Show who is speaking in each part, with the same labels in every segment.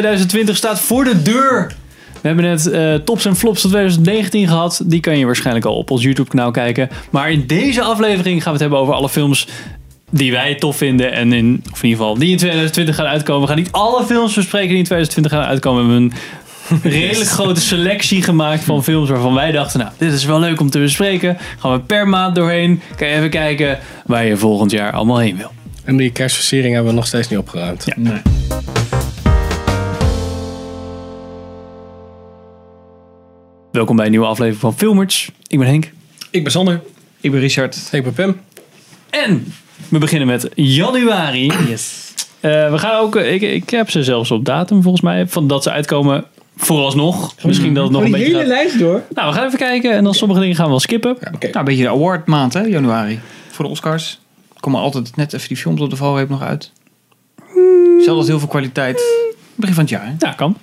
Speaker 1: 2020 staat voor de deur. We hebben net eh, tops en flops van 2019 gehad. Die kan je waarschijnlijk al op ons YouTube kanaal kijken. Maar in deze aflevering gaan we het hebben over alle films die wij tof vinden. En in, of in ieder geval die in 2020 gaan uitkomen. We gaan niet alle films bespreken die in 2020 gaan uitkomen. We hebben een redelijk grote selectie gemaakt van films waarvan wij dachten... nou, dit is wel leuk om te bespreken. Gaan we per maand doorheen. Kan je even kijken waar je volgend jaar allemaal heen wil.
Speaker 2: En die kerstversiering hebben we nog steeds niet opgeruimd.
Speaker 3: Nee.
Speaker 1: Welkom bij een nieuwe aflevering van Filmers. Ik ben Henk.
Speaker 2: Ik ben Sander.
Speaker 3: Ik ben Richard.
Speaker 2: Ik ben Pim.
Speaker 1: En we beginnen met januari.
Speaker 3: Yes.
Speaker 1: Eh, we gaan ook, ik, ik heb ze zelfs op datum volgens mij, van dat ze uitkomen vooralsnog. Misschien dat het nog een beetje gaat-
Speaker 3: lijst door.
Speaker 1: Nou, we gaan even kijken en dan sommige dingen gaan we wel skippen.
Speaker 2: Ja, Oké.
Speaker 3: Nou, een beetje de awardmaand hè, januari. Voor de Oscars. Komen altijd net even die films op de valreep nog uit. Zelfs als heel veel kwaliteit. Begin van het jaar hè.
Speaker 1: Ja, kan.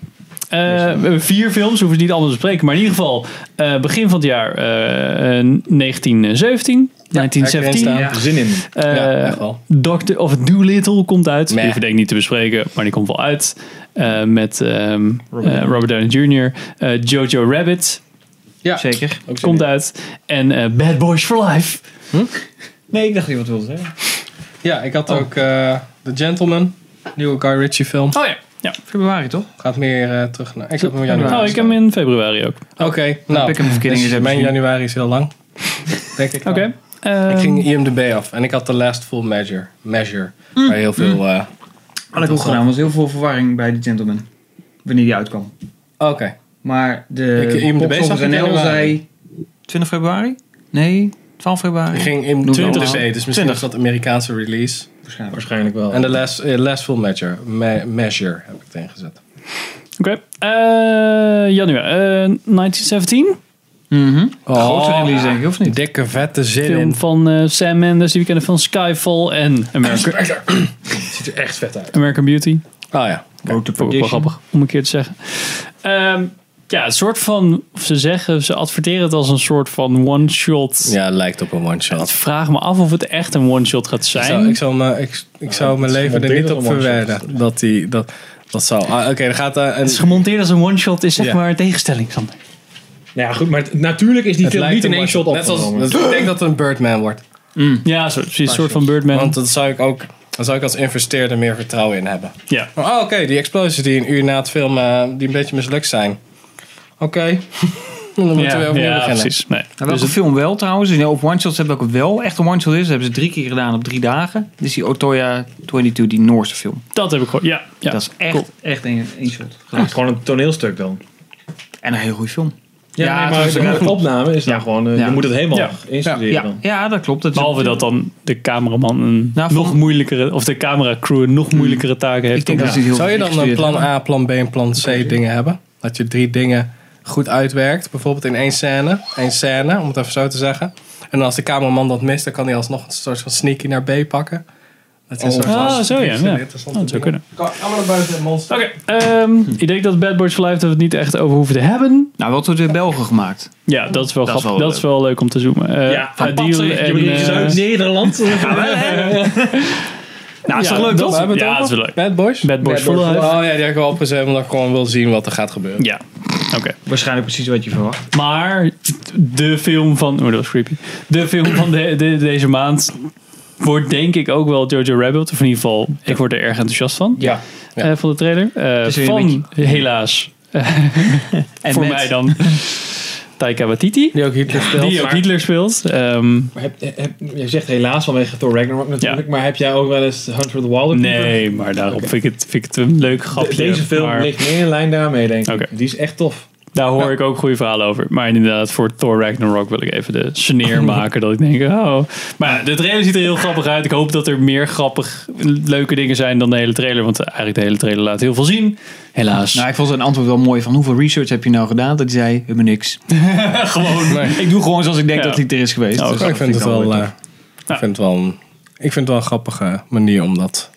Speaker 1: Eh, we hebben vier films, hoeven ze niet allemaal te bespreken. Maar in ieder geval, eh, begin van het jaar eh, eh, 1917.
Speaker 2: heb ik erin
Speaker 1: 1917.
Speaker 2: staan.
Speaker 3: Ja.
Speaker 4: Zin in.
Speaker 1: Eh,
Speaker 2: Ja, echt wel.
Speaker 1: Doctor of Doolittle komt uit. Die
Speaker 2: Meh.
Speaker 1: hoef ik denk ik niet te bespreken, maar die komt wel uit. Eh, met ehm, eh, Robert, Downey Jr. Eh, Jojo Rabbit
Speaker 2: Ja,
Speaker 3: Zeker.
Speaker 2: Ook zin
Speaker 1: komt
Speaker 2: in.
Speaker 1: uit. En eh, Bad Boys for Life.
Speaker 4: Nee, ik dacht dat je wat wilde zeggen.
Speaker 2: Ja, ik had
Speaker 3: Oh.
Speaker 2: ook eh, The Gentleman. Nieuwe Guy Ritchie film.
Speaker 1: Oh ja. ja.
Speaker 3: Februari toch?
Speaker 2: Gaat meer eh, terug naar... Ik heb hem in
Speaker 3: Ja,
Speaker 2: januari.
Speaker 1: oh, ik heb hem in februari ook.
Speaker 2: Oké, nou.
Speaker 3: heb ik hem verkeerd
Speaker 2: dus
Speaker 3: ingezet
Speaker 2: mijn
Speaker 3: misschien.
Speaker 2: januari is heel lang. Denk ik
Speaker 1: Oké.
Speaker 2: wel.
Speaker 1: Ehm,
Speaker 2: Ik ging IMDb af en ik had The Last Full Measure. Measure.
Speaker 3: Mm.
Speaker 2: Waar heel veel... eh,
Speaker 5: Had ik ook gedaan, was heel veel verwarring bij de Gentleman. Wanneer die uitkwam.
Speaker 2: oh, Oké.
Speaker 5: Maar de
Speaker 2: Ik- IMDb
Speaker 5: box
Speaker 2: zag
Speaker 5: office
Speaker 2: ik
Speaker 5: NL
Speaker 2: helemaal
Speaker 5: zei...
Speaker 3: 20 februari? Nee, 12 februari.
Speaker 2: Ik ging in
Speaker 3: Doe
Speaker 2: 20
Speaker 3: het allemaal.
Speaker 2: dus misschien is dat Amerikaanse release.
Speaker 5: Waarschijnlijk.
Speaker 4: Waarschijnlijk wel.
Speaker 2: En The Last, eh, last Full Measure. Me- measure heb ik erin gezet.
Speaker 1: Oké. Eh, januari. eh, 1917.
Speaker 3: Mhm.
Speaker 2: Oh,
Speaker 3: Grootste release denk ik, of niet?
Speaker 2: Dikke vette zin
Speaker 1: Film van eh, Sam Mendes, die we kennen van Skyfall en American,
Speaker 2: Ziet er echt vet uit.
Speaker 1: American Beauty.
Speaker 2: Oh ja.
Speaker 3: Road to
Speaker 1: Vond ik ook wel grappig om een keer te zeggen. Ehm, ja, een soort van. Of ze zeggen, ze adverteren het als een soort van one-shot.
Speaker 2: Ja, lijkt op een
Speaker 1: Ik
Speaker 2: one-shot.
Speaker 1: vraag me af of het echt een one-shot gaat
Speaker 2: Ik
Speaker 1: zijn.
Speaker 2: zou, ik zou, me- ik, ik zou mijn leven er niet op verwerden. Dat die, dat, dat zou... Ah, Oké, er gaat eh, een...
Speaker 1: Het is gemonteerd als een one-shot, is zeg
Speaker 2: Ja.
Speaker 1: maar een tegenstelling, Sander.
Speaker 4: Nou ja, goed, maar het- natuurlijk is die
Speaker 2: het
Speaker 4: film
Speaker 2: lijkt
Speaker 4: niet in
Speaker 2: een
Speaker 4: één shot
Speaker 2: one-shot. Net zoals,
Speaker 4: opgenomen.
Speaker 2: dat- ik denk dat het een Birdman wordt.
Speaker 1: Ja, zo, precies. Een soort van Birdman.
Speaker 2: Want eh, dat zou ik ook... Daar zou ik als investeerder meer vertrouwen in hebben.
Speaker 1: ja.
Speaker 2: Oh, oké, die explosies die een uur na het film... eh, die een beetje mislukt zijn. Oké. Dan moeten
Speaker 1: ja,
Speaker 2: we opnieuw
Speaker 1: ja,
Speaker 2: beginnen.
Speaker 1: precies. Nee.
Speaker 3: Nou, welke
Speaker 1: Dus het-
Speaker 3: film wel trouwens. Dus, ja, op one-shots hebben welke wel echt een one-shot is. Dat hebben ze drie keer gedaan op drie dagen. Dus die Otoya 22, die Noorse film.
Speaker 1: dat heb ik gehoord. Ja, ja.
Speaker 3: dat is echt,
Speaker 1: cool.
Speaker 5: Echt één één shot.
Speaker 4: Het is gewoon een toneelstuk dan.
Speaker 3: En een hele goede film.
Speaker 4: Ja,
Speaker 3: Ja,
Speaker 4: nee,
Speaker 3: het
Speaker 4: maar
Speaker 3: is
Speaker 4: de
Speaker 3: een
Speaker 4: de opname is dan gewoon... eh,
Speaker 3: Ja.
Speaker 4: Je moet het helemaal
Speaker 1: Ja.
Speaker 4: instuderen
Speaker 3: Ja,
Speaker 4: dan.
Speaker 3: ja dat klopt. Dat is-
Speaker 1: Behalve dat dan de cameraman een
Speaker 3: Nou,
Speaker 1: nog
Speaker 3: van-
Speaker 1: moeilijkere, of de cameracrew een
Speaker 2: Hmm.
Speaker 1: nog moeilijkere taken heeft.
Speaker 3: Ik denk
Speaker 1: om-
Speaker 3: dat ze heel
Speaker 2: Zou je
Speaker 3: goed
Speaker 2: dan eh, een
Speaker 3: gestudeerd
Speaker 2: plan
Speaker 3: hebben.
Speaker 2: A, plan B en plan C dingen hebben? Dat je drie dingen goed uitwerkt. Bijvoorbeeld in één scène. één scène, om het even zo te zeggen. En dan als de cameraman dat mist, dan kan hij alsnog een soort van sneaky naar B pakken. Dat is
Speaker 1: Ah, zo ja. ja. Oh, dat zou kunnen.
Speaker 2: Allemaal naar buiten en monster.
Speaker 1: Oké, ehm, ik denk dat Bad Boys for Life dat we het niet echt over hoeven te hebben.
Speaker 3: Nou, wel door de Belgen gemaakt.
Speaker 1: Ja, dat is wel
Speaker 3: Dat is
Speaker 1: grappig.
Speaker 3: wel
Speaker 1: dat is wel leuk om te zoomen. Eh,
Speaker 4: Ja, van
Speaker 1: Adil
Speaker 4: Patsen, je
Speaker 1: en,
Speaker 4: bedoelt
Speaker 1: eh,
Speaker 4: Zuid-Nederland.
Speaker 3: Nou, is
Speaker 1: Ja,
Speaker 3: toch leuk,
Speaker 1: dat-
Speaker 3: toch?
Speaker 1: Ja, dat is wel leuk.
Speaker 2: Bad Boys?
Speaker 1: Bad Boys for Life.
Speaker 2: Oh ja, die heb ik wel opgezet, omdat ik gewoon wil zien wat er gaat gebeuren.
Speaker 1: Ja, oké.
Speaker 5: Waarschijnlijk precies wat je verwacht.
Speaker 1: Maar de film van... Oh, dat was creepy. De film van de, de- deze maand wordt denk ik ook wel Jojo Rabbit. Of in ieder geval, ik word er erg enthousiast van.
Speaker 2: Ja. Ja.
Speaker 1: eh, van de trailer. Eh,
Speaker 3: is weer
Speaker 1: van,
Speaker 3: een
Speaker 1: helaas, eh,
Speaker 3: En
Speaker 1: voor
Speaker 3: met-
Speaker 1: mij dan, Taika Waititi.
Speaker 2: Die ook Hitler speelt.
Speaker 1: Die ook
Speaker 2: maar-
Speaker 1: Hitler speelt. Ehm,
Speaker 4: Maar heb, eh, heb, je zegt helaas vanwege Thor Ragnarok natuurlijk,
Speaker 1: Ja.
Speaker 4: maar heb jij ook wel eens Hunt for the Wilder?
Speaker 1: nee, maar daarop
Speaker 4: Oké.
Speaker 1: vind, ik het, vind ik het een leuk grapje.
Speaker 4: Deze film
Speaker 1: maar-
Speaker 4: ligt meer in lijn daarmee, denk ik.
Speaker 1: Oké.
Speaker 4: Die is echt tof.
Speaker 1: Daar hoor ik ook goede verhalen over. Maar inderdaad, voor Thor Ragnarok wil ik even de sneer maken. dat ik denk, oh. Maar ja, de trailer ziet er heel grappig uit. Ik hoop dat er meer grappig, leuke dingen zijn dan de hele trailer. Want eigenlijk de hele trailer laat heel veel zien. Helaas.
Speaker 3: Nou, ik vond zijn antwoord wel mooi. Van hoeveel research heb je nou gedaan? Dat hij zei, we hebben niks.
Speaker 1: gewoon.
Speaker 3: Ik doe gewoon zoals ik denk
Speaker 1: Ja.
Speaker 3: dat hij er is geweest.
Speaker 1: Oh,
Speaker 3: Dus
Speaker 1: oké.
Speaker 2: ik
Speaker 3: dat
Speaker 2: vind het
Speaker 3: dan
Speaker 2: wel...
Speaker 3: weer
Speaker 2: eh,
Speaker 3: tof.
Speaker 1: Ja.
Speaker 2: Ik vind het wel een- ik vind het wel een grappige manier om dat...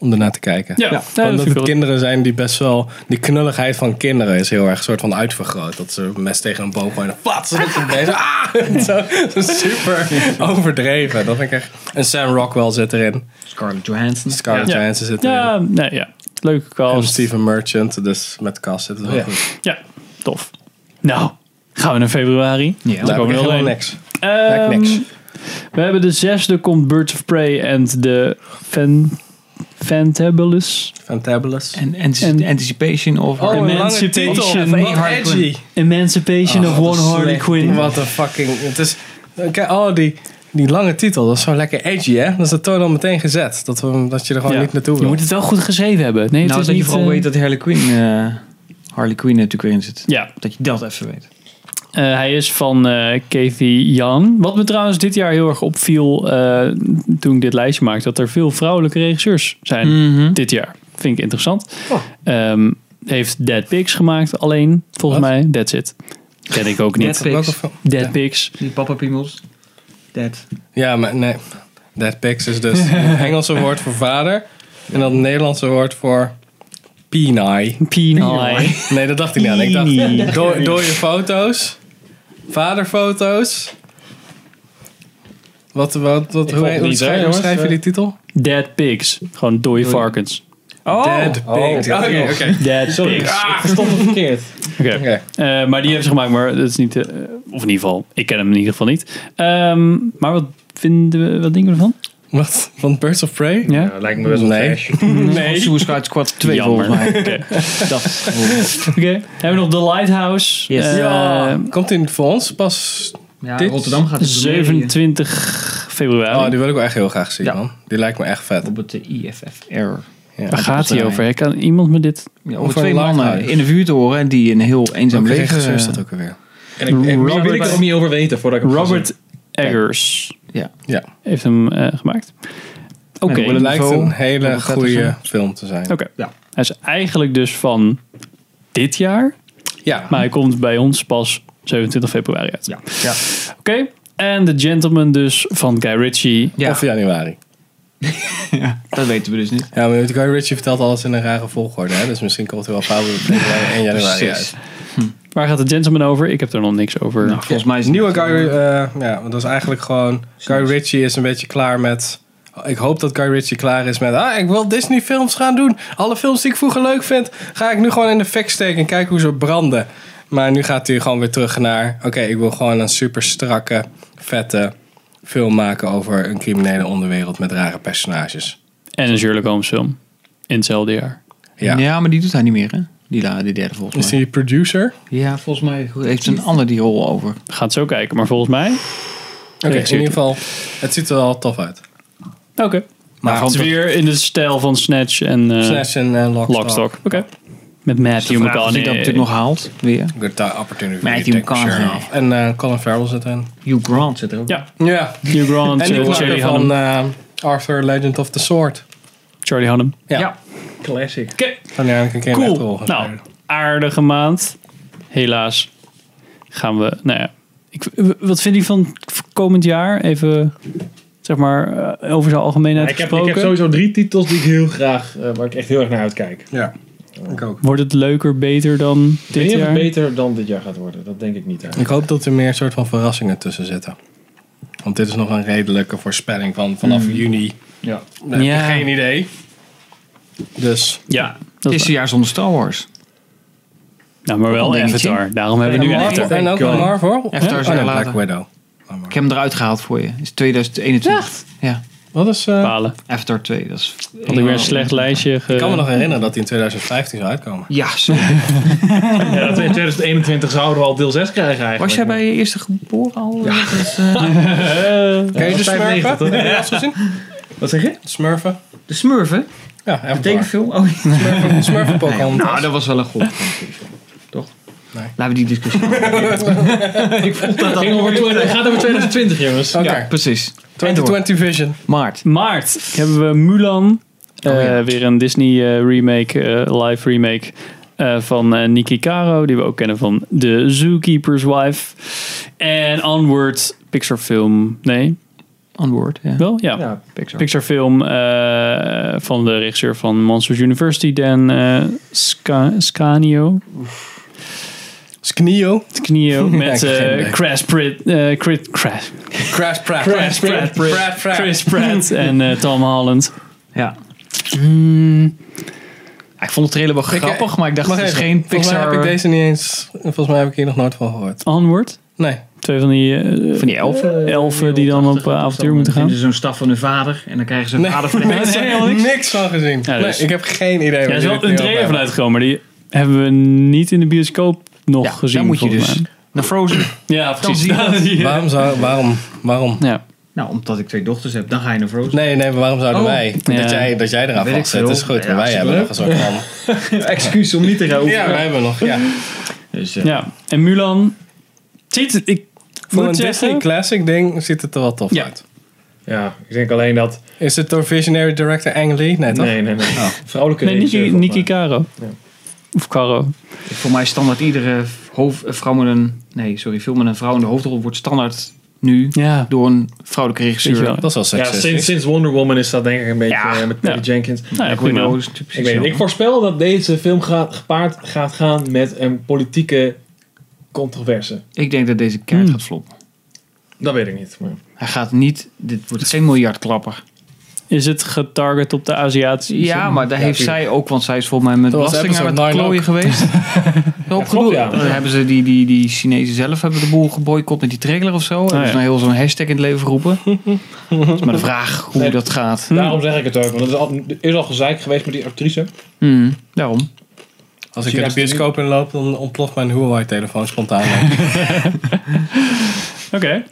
Speaker 2: Om ernaar te kijken.
Speaker 1: Ja, ja, dat
Speaker 2: Omdat
Speaker 1: vind ik
Speaker 2: het
Speaker 1: wel-
Speaker 2: kinderen zijn die best wel... Die knulligheid van kinderen is heel erg soort van uitvergroot. Dat ze een mes tegen een boom gooien en plat, ze dat ze bezig. Ah! Zo, zo super overdreven. Dat vind ik echt... En Sam Rockwell zit erin.
Speaker 3: Scarlett Johansson.
Speaker 2: Scarlett
Speaker 1: Ja.
Speaker 2: Johansson zit erin.
Speaker 1: ja, nee, ja. Leuke
Speaker 2: En
Speaker 1: cast.
Speaker 2: Steven Merchant, dus met Cas zit het wel
Speaker 4: Ja.
Speaker 2: goed.
Speaker 1: Ja, tof. Nou, gaan we naar februari.
Speaker 3: Ja.
Speaker 2: Daar heb
Speaker 1: komen
Speaker 2: ik
Speaker 1: we wel heen.
Speaker 2: helemaal niks.
Speaker 1: Ehm,
Speaker 2: Lijkt niks.
Speaker 1: We hebben de zesde komt Birds of Prey en de Fan, Fantabulous
Speaker 2: Fantabulous.
Speaker 3: En, en,
Speaker 1: En- Oh,
Speaker 3: Anticipation of... Nou,
Speaker 1: een lange titel. Wat
Speaker 3: edgy.
Speaker 1: Emancipation
Speaker 2: Ah,
Speaker 1: of
Speaker 2: wat
Speaker 1: One
Speaker 2: een
Speaker 1: Harley
Speaker 2: slecht-
Speaker 1: Quinn.
Speaker 2: Wat een fucking... Het is... Kijk, oh, die, die lange titel, dat is zo lekker edgy, hè? Dat is de toon al meteen gezet. Dat, we, dat je er gewoon
Speaker 1: Ja.
Speaker 2: niet naartoe
Speaker 1: Je
Speaker 2: wil.
Speaker 1: moet het wel goed geschreven hebben. Nee,
Speaker 3: nou,
Speaker 1: het
Speaker 3: dat
Speaker 1: is
Speaker 3: je
Speaker 1: niet
Speaker 3: vooral
Speaker 1: eh,
Speaker 3: weet dat Harley Quinn, eh, Harley Quinn er natuurlijk weer in zit.
Speaker 1: Ja,
Speaker 3: Dat je dat even weet.
Speaker 1: Eh, hij is van eh Kathy Jan. Wat me trouwens dit jaar heel erg opviel eh, toen ik dit lijstje maakte, dat er veel vrouwelijke regisseurs zijn
Speaker 3: Mhm.
Speaker 1: dit jaar. Vind ik interessant.
Speaker 2: Oh.
Speaker 1: Ehm, heeft Dead Pigs gemaakt alleen, volgens
Speaker 2: Wat?
Speaker 1: mij. That's it. Ken ik ook niet.
Speaker 3: Dead Pigs.
Speaker 2: Welke film?
Speaker 1: Dead
Speaker 2: Ja.
Speaker 1: Pigs.
Speaker 5: Die papa piemels. Dead.
Speaker 2: Ja, maar nee. Dead pigs is dus het Engelse woord voor vader. En dan het Nederlandse woord voor peni.
Speaker 1: Peni.
Speaker 2: Nee, dat dacht ik niet aan. Ik dacht, door, door je foto's. Vaderfoto's. Wat, wat, wat, hoe,
Speaker 4: volg
Speaker 2: heet-
Speaker 4: niet,
Speaker 2: hoe
Speaker 4: hè,
Speaker 2: schrijf, hoe
Speaker 4: jongens?
Speaker 2: schrijf je die titel?
Speaker 1: Dead Pigs. Gewoon dode varkens.
Speaker 3: Oh!
Speaker 2: Dead Pigs.
Speaker 4: Oh,
Speaker 2: Oké,
Speaker 4: oké.
Speaker 2: oké.
Speaker 1: Dead
Speaker 4: Sorry,
Speaker 1: Pigs.
Speaker 4: ah, ik stond het verkeerd.
Speaker 1: Oké.
Speaker 2: Oké.
Speaker 1: Eh, maar die hebben ze gemaakt, maar dat is niet... eh, of in ieder geval, ik ken hem in ieder geval niet. Ehm, maar wat vinden we, wat denken we ervan?
Speaker 2: Wat? Van Birds of Prey?
Speaker 1: Ja?
Speaker 6: Ja, lijkt me best wel
Speaker 2: Nee.
Speaker 6: trash.
Speaker 3: Nee. Suicide Squad 2
Speaker 1: Jammer.
Speaker 3: volgens mij.
Speaker 1: Oké. Dat. Oké. Hebben we nog The Lighthouse.
Speaker 3: Yes.
Speaker 1: Eh,
Speaker 2: Ja. Komt in voor ons pas.
Speaker 5: Ja,
Speaker 2: Dit-
Speaker 5: Rotterdam gaat de première
Speaker 1: 27 februari.
Speaker 2: Oh, die wil ik wel echt heel graag zien,
Speaker 5: Ja.
Speaker 2: man. Die lijkt me echt vet.
Speaker 5: hier. Op het eh, IFF.
Speaker 3: Error.
Speaker 1: Waar gaat hij over? hè? Kan iemand me dit...
Speaker 3: Ja,
Speaker 2: Over
Speaker 3: over twee
Speaker 2: een
Speaker 3: mannen
Speaker 2: lighthouse.
Speaker 3: in de vuur te horen en die een heel eenzaam
Speaker 2: Welke
Speaker 3: leven...
Speaker 2: regisseur is dat
Speaker 3: eh,
Speaker 2: ook alweer?
Speaker 6: En ik, ik,
Speaker 4: Meer wil ik
Speaker 1: Robert-
Speaker 4: er ook niet over weten voordat ik het ga
Speaker 1: Robert Eggers
Speaker 3: Ja.
Speaker 2: Ja.
Speaker 1: heeft hem eh, gemaakt. Oké.
Speaker 3: Nee,
Speaker 2: Het
Speaker 3: Willen-
Speaker 2: lijkt
Speaker 3: Niveau,
Speaker 2: een hele
Speaker 3: wat gaat er
Speaker 2: goede
Speaker 3: zijn?
Speaker 2: film te zijn.
Speaker 1: Oké.
Speaker 5: Ja.
Speaker 1: Hij is eigenlijk dus van dit jaar.
Speaker 2: Ja.
Speaker 1: Maar hij komt bij ons pas 27 februari uit.
Speaker 5: Ja.
Speaker 1: ja. Oké. En The Gentleman dus van Guy Ritchie.
Speaker 3: Ja.
Speaker 2: Of januari.
Speaker 3: Dat weten we dus niet.
Speaker 2: Ja, maar Guy Ritchie vertelt alles in een rare volgorde. Hè? Dus misschien komt er wel Fabio februari en januari uit.
Speaker 1: Waar gaat The Gentleman over? Ik heb er nog niks over.
Speaker 3: Nou, volgens mij is
Speaker 2: Een
Speaker 3: het
Speaker 2: nieuwe Guy eh, ja, want dat is eigenlijk gewoon... Guy Ritchie is een beetje klaar met... Ik hoop dat Guy Ritchie klaar is met... Ah, ik wil Disney films gaan doen. Alle films die ik vroeger leuk vind... ga ik nu gewoon in de fik steken en kijken hoe ze branden. Maar nu gaat hij gewoon weer terug naar... Oké, ik wil gewoon een super strakke, vette film maken... over een criminele onderwereld met rare personages.
Speaker 1: En een Sherlock Holmes film. In hetzelfde jaar.
Speaker 2: Ja.
Speaker 3: Ja. maar die doet hij niet meer, hè? Die, la- die derde
Speaker 2: Is
Speaker 3: volgens mij.
Speaker 2: hij producer?
Speaker 3: Ja, volgens mij heeft een ander die rol over.
Speaker 1: Gaat zo kijken. Maar volgens mij...
Speaker 2: Oké, in ieder geval... Het ziet er wel tof uit.
Speaker 1: Oké.
Speaker 2: Maar
Speaker 1: Maar Nou, het is weer in de stijl van Snatch en eh,
Speaker 2: Snatch en eh, Lockstock.
Speaker 1: Lockstock. Oké. Met Matthew
Speaker 3: Die dat
Speaker 1: McConaughey.
Speaker 3: natuurlijk nog haalt, weer.
Speaker 2: Good time, opportunity.
Speaker 3: Matthew
Speaker 2: to take my shirt
Speaker 3: McConaughey.
Speaker 2: off. En eh, Colin Farrell zit erin.
Speaker 5: Hugh Grant zit er ook.
Speaker 1: Ja.
Speaker 2: Ja.
Speaker 1: Hugh Grant,
Speaker 2: En die
Speaker 1: eh, Charlie
Speaker 2: knakker
Speaker 1: Hunnam.
Speaker 2: van eh, Arthur Legend of the Sword.
Speaker 1: Charlie Hunnam.
Speaker 2: Ja.
Speaker 5: Ja. Classic.
Speaker 1: Oké,
Speaker 2: Van die eigenlijk een keer een
Speaker 1: cool.
Speaker 2: rol
Speaker 1: Nou,
Speaker 2: gespeeld.
Speaker 1: aardige maand. Helaas gaan we... Nou ja. Ik, wat vind je van komend jaar? Even, zeg maar, eh, over zijn algemeenheid
Speaker 4: Ik heb, ik
Speaker 1: gesproken.
Speaker 4: heb sowieso drie titels die ik heel graag, eh, waar ik echt heel erg naar uitkijk.
Speaker 2: Ja. Ik ook.
Speaker 1: Wordt het leuker, beter dan
Speaker 4: Ik
Speaker 1: dit
Speaker 4: weet niet of
Speaker 1: jaar?
Speaker 4: het beter dan dit jaar gaat worden. Dat denk ik niet eigenlijk.
Speaker 2: Ik hoop dat er meer soort van verrassingen tussen zitten. Want dit is nog een redelijke voorspelling van vanaf juni.
Speaker 4: Ja.
Speaker 2: Nou,
Speaker 3: Ja.
Speaker 2: heb je Geen idee. Dus.
Speaker 1: Ja, dat is
Speaker 3: Is een jaar zonder Star Wars.
Speaker 1: Nou, maar wel
Speaker 3: Een dingetje.
Speaker 1: Avatar. Daarom hebben we nu
Speaker 2: En
Speaker 1: een
Speaker 2: Marvel-
Speaker 1: Avatar.
Speaker 2: En ook een Marvel.
Speaker 3: Avatar is
Speaker 2: Oh,
Speaker 3: een
Speaker 2: nee,
Speaker 3: jaar
Speaker 2: Black
Speaker 3: later.
Speaker 2: Widow.
Speaker 3: Ik heb hem eruit gehaald voor je. Is 2021. Ja.
Speaker 2: Wat is... eh,
Speaker 1: Balen.
Speaker 3: Avatar 2, dat is...
Speaker 1: Had ik weer een slecht lijstje. Ge...
Speaker 2: ik kan me nog herinneren dat die in 2015 zou uitkomen.
Speaker 3: Ja, sorry.
Speaker 4: Ja, dat we in 2021 zouden we al deel 6 krijgen eigenlijk.
Speaker 3: Was jij bij je eerste geboren al? eh, Ja.
Speaker 2: Ken je de
Speaker 4: dat is
Speaker 2: smurfen?
Speaker 4: 95,
Speaker 2: Heb je dat gezien?
Speaker 5: Wat zeg je?
Speaker 2: Smurfen?
Speaker 5: De Smurfen?
Speaker 2: Ja, Avatar.
Speaker 5: Tekenfilm? Oh, ja.
Speaker 2: Smurfen, Smurfen Pocahontas.
Speaker 5: nou, dat was wel een goed. Toch?
Speaker 2: Nee.
Speaker 5: Laten we die discussie.
Speaker 4: Het ging over 20 het gaat over 2020 jongens.
Speaker 2: Oké,
Speaker 3: Precies.
Speaker 2: 2020 Vision.
Speaker 3: Maart.
Speaker 1: Maart hebben we
Speaker 2: Oh,
Speaker 1: Mulan. Eh, Weer een Disney eh, remake, eh, live remake eh, van eh, Niki Caro. Die we ook kennen van The Zookeeper's Wife. En Onward, Pixar film. Nee,
Speaker 3: Antwoord, ja.
Speaker 1: wel? Ja.
Speaker 4: Ja,
Speaker 3: Pixar.
Speaker 1: Pixar film eh, van de regisseur van Monsters University, Dan eh, Sca- Scanio.
Speaker 2: Sknio.
Speaker 1: Knio met
Speaker 2: geen
Speaker 1: eh,
Speaker 2: idee.
Speaker 1: Crash Pratt. eh, Crit, Crash,
Speaker 2: Crash Pratt.
Speaker 1: Crash Pratt.
Speaker 2: Pratt. Pratt.
Speaker 1: Chris Pratt en eh, Tom Holland.
Speaker 3: Hmm. Ja.
Speaker 1: Ja, ik vond de trailer wel
Speaker 2: Ik-
Speaker 1: grappig, maar ik dacht,
Speaker 2: Wacht
Speaker 1: het is
Speaker 2: even,
Speaker 1: geen
Speaker 2: Volgens mij
Speaker 1: Pixar...
Speaker 2: heb ik deze niet eens... Volgens mij heb ik hier nog nooit van gehoord.
Speaker 1: Onward?
Speaker 2: Nee.
Speaker 1: Twee van die, eh,
Speaker 3: Van die elfen?
Speaker 1: elfen die dan op eh, avontuur moeten gaan.
Speaker 5: Dan vinden ze zo'n staf van hun vader en dan krijgen ze hun
Speaker 2: Nee.
Speaker 5: vader van
Speaker 1: Nee,
Speaker 2: Ik heb
Speaker 1: helemaal niks.
Speaker 2: niks. van gezien.
Speaker 1: Ja,
Speaker 2: nee,
Speaker 1: dus-
Speaker 2: ik heb geen idee.
Speaker 1: Ja,
Speaker 2: waar
Speaker 1: er is
Speaker 2: jullie
Speaker 1: wel
Speaker 2: het
Speaker 1: een
Speaker 2: nu over
Speaker 1: trailer
Speaker 2: hebben.
Speaker 1: van uitgekomen, maar die hebben we niet in de bioscoop nog
Speaker 3: Ja,
Speaker 1: gezien.
Speaker 3: dan moet je
Speaker 1: volgens
Speaker 3: dus naar Frozen.
Speaker 1: mij. Ja, precies.
Speaker 3: zie je dat.
Speaker 1: Ja.
Speaker 2: Waarom zou... Waarom? Waarom?
Speaker 1: Ja.
Speaker 5: Nou, omdat ik twee dochters heb, dan ga je naar Frozen.
Speaker 2: Nee, nee, maar waarom zouden
Speaker 5: Oh.
Speaker 2: wij...
Speaker 1: Ja.
Speaker 2: Dat, jij, dat jij eraan
Speaker 5: Weet ik
Speaker 2: vast zit,
Speaker 5: veel.
Speaker 2: is goed.
Speaker 5: Ja,
Speaker 2: maar wij
Speaker 5: is
Speaker 2: hebben
Speaker 5: leuk.
Speaker 2: nog een soort van...
Speaker 5: Excuus om niet te gaan
Speaker 2: Ja, wij hebben nog, ja.
Speaker 5: Dus, eh,
Speaker 1: ja, en Mulan. Ziet het, ik
Speaker 2: Voor een
Speaker 1: moet
Speaker 2: Disney
Speaker 1: zeggen...
Speaker 2: Classic ding ziet het er wel tof
Speaker 1: Ja.
Speaker 2: uit.
Speaker 4: Ja, ik denk alleen dat...
Speaker 2: Is het door visionary director Ang Lee? Nee, toch?
Speaker 4: Nee, nee, nee. Vrouwelijke
Speaker 1: Oh. Nee,
Speaker 4: regisseur,
Speaker 1: Niki,
Speaker 4: volgens
Speaker 1: Niki Caro. Of Caro.
Speaker 3: Voor mij is standaard iedere hoofd, eh, vrouw met een... Nee, sorry. Film met een vrouw in de hoofdrol wordt standaard nu
Speaker 1: Ja.
Speaker 3: door een vrouwelijke
Speaker 1: Weet je
Speaker 3: regisseur.
Speaker 1: wel.
Speaker 2: Dat is wel
Speaker 4: mij. Ja,
Speaker 2: seksistisch.
Speaker 4: sinds, sinds Wonder Woman is dat denk ik een beetje
Speaker 3: Ja.
Speaker 4: eh, met Patty
Speaker 1: Ja.
Speaker 4: Jenkins.
Speaker 1: Nou, ja,
Speaker 3: Ik weet
Speaker 1: prima.
Speaker 3: niet, oh, is het precies
Speaker 4: Ik, weet,
Speaker 3: zo.
Speaker 4: niet. ik voorspel dat deze film gaat, gepaard gaat gaan met een politieke controverse.
Speaker 3: Ik denk dat deze kaart
Speaker 1: Hmm.
Speaker 3: gaat floppen.
Speaker 4: Dat weet ik niet. Maar
Speaker 3: Hij gaat niet... Dit wordt geen miljardklapper.
Speaker 1: Is het getarget op de Aziatische?
Speaker 3: Ja, maar daar
Speaker 4: Ja,
Speaker 3: heeft
Speaker 4: tuurlijk.
Speaker 3: zij ook... Want zij is volgens mij met
Speaker 2: Dat was
Speaker 3: belasting aan
Speaker 2: episode
Speaker 3: het
Speaker 2: nine
Speaker 3: klooien geweest. Hoop
Speaker 4: klopt,
Speaker 3: gedoe.
Speaker 4: ja.
Speaker 3: Dan hebben ze die, die, die Chinezen zelf hebben de boel geboycott met die trailer of zo. Hebben
Speaker 1: ja.
Speaker 3: ze nou heel zo'n hashtag in het leven geroepen. Dat is maar de vraag hoe
Speaker 4: Nee.
Speaker 3: dat gaat.
Speaker 4: daarom zeg ik het ook. Want het is al, er is al gezeik geweest met die actrice.
Speaker 3: Hmm, daarom.
Speaker 2: Als ik
Speaker 4: Zie
Speaker 2: in
Speaker 4: je
Speaker 2: de
Speaker 4: dat
Speaker 2: bioscoop in loop, dan ontploft mijn Huawei-telefoon spontaan.
Speaker 1: Oké.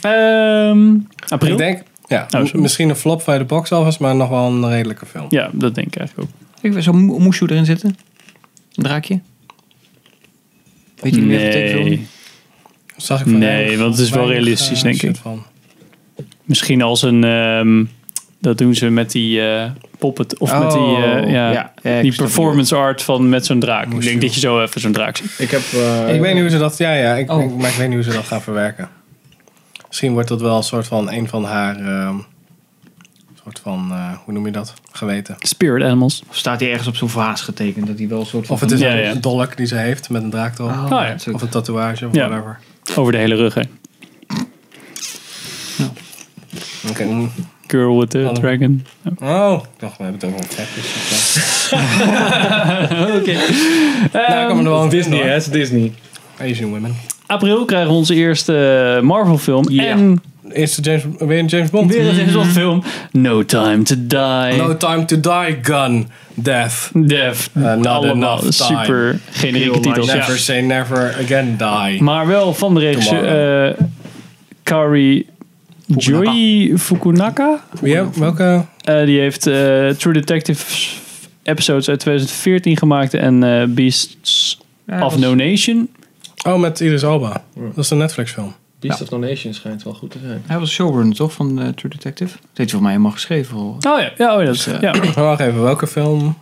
Speaker 1: Ehm, april?
Speaker 2: ik denk, ja,
Speaker 1: Oh, sorry.
Speaker 2: misschien een flop bij de box office, maar nog wel een redelijke film.
Speaker 1: Ja, dat denk ik eigenlijk ook.
Speaker 3: Ik weet zo'n moe- moesje erin zitten. Een draakje. Weet je niet meer wat ik wil?
Speaker 1: Nee.
Speaker 2: Zag ik van
Speaker 1: Nee,
Speaker 2: weinig-
Speaker 1: want het is wel
Speaker 2: weinig,
Speaker 1: realistisch,
Speaker 2: eh,
Speaker 1: denk
Speaker 2: shit
Speaker 1: ik.
Speaker 2: Van.
Speaker 1: Misschien als een... ehm, dat doen ze met die eh, poppet. Of met die... eh, ja,
Speaker 3: Oh, ja, ik
Speaker 1: die
Speaker 3: snap
Speaker 1: performance art van met zo'n draak. Ik
Speaker 2: Moest
Speaker 1: denk
Speaker 2: je.
Speaker 1: dat je zo even zo'n draak ziet.
Speaker 4: Ik heb... eh,
Speaker 2: ik weet niet hoe ze dat, ja, ja, ik,
Speaker 3: Oh.
Speaker 2: ik- maar ik weet niet hoe ze dat gaan verwerken. Misschien wordt dat wel een soort van een van haar, ehm, soort van, eh, hoe noem je dat, geweten.
Speaker 1: Spirit Animals.
Speaker 3: Of staat hij ergens op zo'n vaas getekend dat hij wel een soort van...
Speaker 2: Of het is
Speaker 1: Ja,
Speaker 2: een
Speaker 1: ja.
Speaker 2: dolk die ze heeft met een draak erop.
Speaker 3: Oh,
Speaker 1: ja.
Speaker 3: dat is ook-
Speaker 2: Of een tatoeage, of
Speaker 1: Ja.
Speaker 2: whatever.
Speaker 1: Over de hele rug heen.
Speaker 2: Oké. mm.
Speaker 1: Girl with the
Speaker 2: Hallo.
Speaker 1: Dragon.
Speaker 2: Oh, ik dacht, we hebben het over een gekjes.
Speaker 1: Oké. Ehm,
Speaker 2: nou, ik kan me er wel een
Speaker 4: Disney,
Speaker 2: vinden,
Speaker 4: hè? Het is Disney.
Speaker 2: hoor. Asian Women.
Speaker 1: April krijgen we onze eerste eh, Marvel film.
Speaker 3: Ja.
Speaker 1: En
Speaker 2: Is het James, weer een James Bond?
Speaker 1: weer een zo'n film. No Time to Die.
Speaker 2: No Time to Die, Gun, Death.
Speaker 1: Def.
Speaker 2: not
Speaker 1: Allemaal
Speaker 2: enough time.
Speaker 1: super generieke
Speaker 3: Heel
Speaker 1: titels.
Speaker 2: Never
Speaker 1: Ja.
Speaker 2: say never again die.
Speaker 1: Maar wel van de regisseur eh, Kari
Speaker 3: Fukunaka.
Speaker 1: Joy Fukunaka.
Speaker 2: Wie heb- welke?
Speaker 1: Eh, die heeft eh, True Detective episodes uit 2014 gemaakt en eh, Beasts
Speaker 3: Ja, dat
Speaker 1: of
Speaker 3: is-
Speaker 1: No Nation.
Speaker 2: Oh, met Iris Alba. Dat is een Netflix film.
Speaker 4: Beast of No Nation schijnt wel goed te zijn.
Speaker 3: Hij was showrunner toch van eh, True Detective? Dat heeft hij voor mij helemaal geschreven. Hoor.
Speaker 1: Oh ja, ja, oh, ja, dat is-
Speaker 3: Dus, eh,
Speaker 1: ja.
Speaker 2: Maar wacht even, welke film?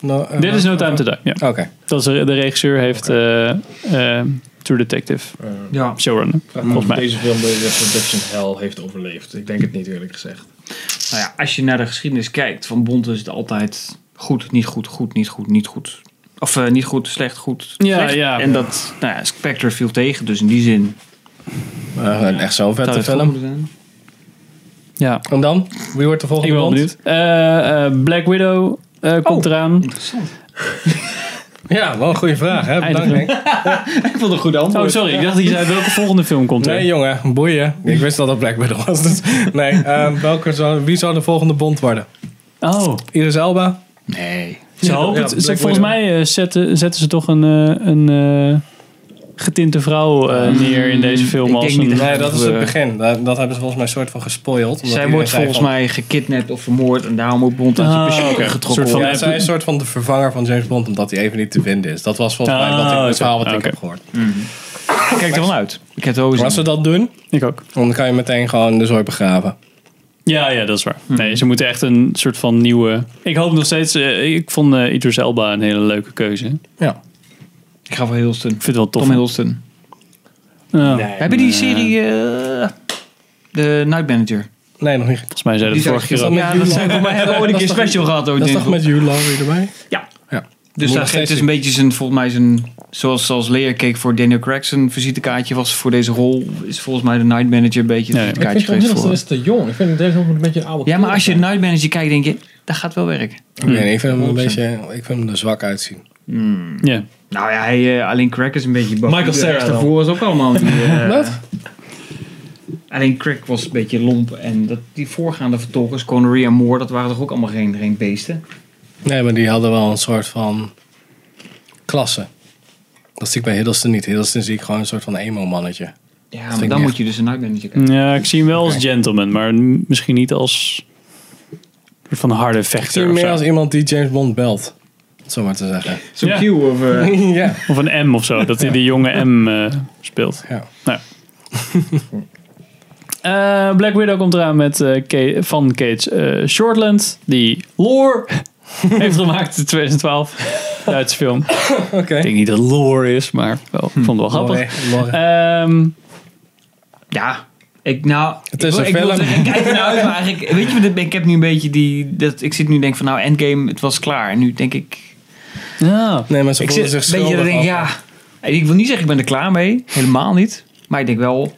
Speaker 2: No, eh,
Speaker 1: dit is No Time to Die. Ja.
Speaker 2: Oké.
Speaker 1: Dat is, de regisseur heeft eh, eh, True Detective
Speaker 4: Eh,
Speaker 3: Ja.
Speaker 1: showrunner.
Speaker 4: vraag me af
Speaker 1: Volgens
Speaker 4: of
Speaker 1: mij.
Speaker 4: deze film de, de production hell heeft overleefd. Ik denk het niet eerlijk gezegd.
Speaker 3: Nou ja, als je naar de geschiedenis kijkt van Bond is het altijd goed, niet goed, goed, niet goed, niet goed. Of eh, niet goed, slecht, goed,
Speaker 1: Ja,
Speaker 3: slecht.
Speaker 1: ja.
Speaker 3: En dat, nou ja, Spectre viel tegen, dus in die zin
Speaker 2: Eh, echt zo'n
Speaker 3: zou
Speaker 2: vette
Speaker 3: het goed
Speaker 2: film.
Speaker 3: moeten zijn.
Speaker 1: Ja,
Speaker 2: En dan? Wie wordt de
Speaker 1: ik
Speaker 2: volgende
Speaker 1: ben wel benieuwd.
Speaker 2: Bond?
Speaker 1: Eh, eh, Black Widow eh, komt eraan.
Speaker 3: Interessant.
Speaker 2: Ja, wel een goede vraag, hè? Bedankt,
Speaker 1: Eindelijk.
Speaker 2: Henk.
Speaker 3: Ik vond een goede antwoord.
Speaker 1: Oh, sorry. Ik dacht dat je zei welke volgende film komt er.
Speaker 2: Nee, jongen, boeien. Ik wist dat dat Black Widow was. Dus, nee, eh, welke zou, wie zou de volgende Bond worden?
Speaker 1: oh,
Speaker 2: Iris Elba?
Speaker 3: Nee.
Speaker 1: ze hopen het.
Speaker 4: Black
Speaker 1: ze- volgens
Speaker 4: Widow.
Speaker 1: mij eh, zetten, zetten ze toch een, eh, een eh, getinte vrouw eh, neer in deze film.
Speaker 3: ik
Speaker 1: als
Speaker 3: denk
Speaker 1: een,
Speaker 3: niet
Speaker 2: Nee, dat is het
Speaker 3: Eh,
Speaker 2: begin. Dat, dat hebben ze volgens mij een soort van gespoild. omdat
Speaker 3: Zij
Speaker 2: iedereen
Speaker 3: wordt
Speaker 2: zei
Speaker 3: volgens
Speaker 2: van-
Speaker 3: mij gekidnapt of vermoord en daarom moet Bond uit zijn
Speaker 1: Ah,
Speaker 3: pensioen
Speaker 1: oké.
Speaker 3: getrokken
Speaker 1: Soort van-
Speaker 3: worden.
Speaker 2: Ja, zij is een soort van de vervanger van James Bond, omdat hij even niet te vinden is. Dat was volgens mij
Speaker 1: Ah,
Speaker 2: wat ik,
Speaker 1: oké.
Speaker 2: het verhaal wat ik
Speaker 1: Oké.
Speaker 2: heb gehoord.
Speaker 3: Ik kijk er wel uit. Ik heb het ook
Speaker 2: Maar als
Speaker 3: gezien.
Speaker 2: ze dat doen,
Speaker 1: Ik ook.
Speaker 2: dan kan je meteen gewoon de zooi begraven.
Speaker 1: Ja, ja, dat is waar.
Speaker 2: Mhm.
Speaker 1: Nee, ze moeten echt een soort van nieuwe... Ik hoop nog steeds... eh, ik vond eh Idris Elba een hele leuke keuze. Ik
Speaker 2: Ja.
Speaker 3: Ik ga voor Hiddleston.
Speaker 1: vind het wel tof.
Speaker 3: Tom Hiddleston.
Speaker 1: Ja.
Speaker 3: Hebben die serie... eh, de Night Manager.
Speaker 2: Nee, nog niet.
Speaker 1: Volgens mij zeiden
Speaker 3: Die
Speaker 1: dat vorige
Speaker 3: zou-
Speaker 1: keer al.
Speaker 2: met
Speaker 3: Ja,
Speaker 2: Hugh
Speaker 3: dat zijn voor mij hebben we ooit een keer special gehad. over
Speaker 2: Dat is
Speaker 3: James
Speaker 2: toch met Hugh Laurie erbij?
Speaker 3: Ja.
Speaker 2: Ja.
Speaker 3: Dus
Speaker 2: Moet
Speaker 3: daar
Speaker 2: nog
Speaker 3: geeft
Speaker 2: steeds
Speaker 3: dus een beetje zijn, volgens mij zijn, zoals, zoals Leercake voor Daniel Craig zijn visitekaartje was voor deze rol, is volgens mij de Night Manager een beetje het
Speaker 1: Ja, ja.
Speaker 4: Ik vind
Speaker 3: visitekaartje
Speaker 4: Tom
Speaker 3: geweest
Speaker 4: Hiddleston
Speaker 3: voor.
Speaker 4: is te jong. Ik vind het een beetje een
Speaker 3: Ja,
Speaker 4: oude
Speaker 3: maar
Speaker 4: kerel
Speaker 3: als je
Speaker 4: zijn.
Speaker 3: Night Manager kijkt, denk je,
Speaker 7: dat gaat wel werken.
Speaker 2: Ik, weet niet, ik vind hem een beetje ik vind hem er zwak uitzien.
Speaker 1: Ja.
Speaker 3: Nou ja, hij, eh, alleen Crack is een beetje... bak-
Speaker 4: Michael Cera dan.
Speaker 3: Daarvoor was ook allemaal... Die, eh,
Speaker 2: Wat?
Speaker 3: Alleen Crack was een beetje lomp. En dat, die voorgaande vertolkers, Connery en Moore, dat waren toch ook allemaal geen, geen beesten?
Speaker 2: Nee, maar die hadden wel een soort van klasse. Dat zie ik bij Hiddleston niet. Hiddleston zie ik gewoon een soort van emo-mannetje.
Speaker 3: Ja,
Speaker 2: vind
Speaker 3: maar
Speaker 2: ik
Speaker 3: dan
Speaker 2: echt. Hmm.
Speaker 3: moet je dus een nightmanager kijken.
Speaker 1: ja, ik zie hem wel als gentleman, maar m- misschien niet als soort van harde
Speaker 2: Ik zie
Speaker 1: vechter
Speaker 2: hem
Speaker 1: of,
Speaker 2: meer
Speaker 1: zo.
Speaker 2: als iemand die James Bond belt. om het Zo maar te zeggen.
Speaker 3: Zo'n
Speaker 1: Ja.
Speaker 3: Q of... eh,
Speaker 2: ja.
Speaker 1: of een M of zo, dat hij die jonge M eh, speelt. Nou.
Speaker 2: ja.
Speaker 1: Eh, Black Widow komt eraan met, eh, Ka- van Kate eh, Shortland, die lore heeft gemaakt in 2012. Duitse film.
Speaker 2: Oké.
Speaker 1: Ik denk niet dat het lore is, maar wel, ik vond het wel grappig.
Speaker 2: Lorre, Lorre.
Speaker 1: Ehm,
Speaker 3: Ja, ik nou...
Speaker 2: Het
Speaker 3: ik
Speaker 2: is
Speaker 3: wil-
Speaker 2: een
Speaker 3: ik wil
Speaker 2: film.
Speaker 3: zeggen, Ik kijk er nou uit, maar eigenlijk... Weet je, wat, ik heb nu een beetje die... Dat, ik zit nu en denk van, nou, Endgame, het was klaar. En nu denk ik...
Speaker 1: ja.
Speaker 2: Nee, maar ze
Speaker 3: Ik
Speaker 2: voelen
Speaker 3: zit
Speaker 2: zich
Speaker 3: een beetje
Speaker 2: schuldig.
Speaker 3: dat ik denk,
Speaker 2: af.
Speaker 3: ja... En Ik wil niet zeggen, ik ben er klaar mee. Helemaal niet. Maar ik denk wel...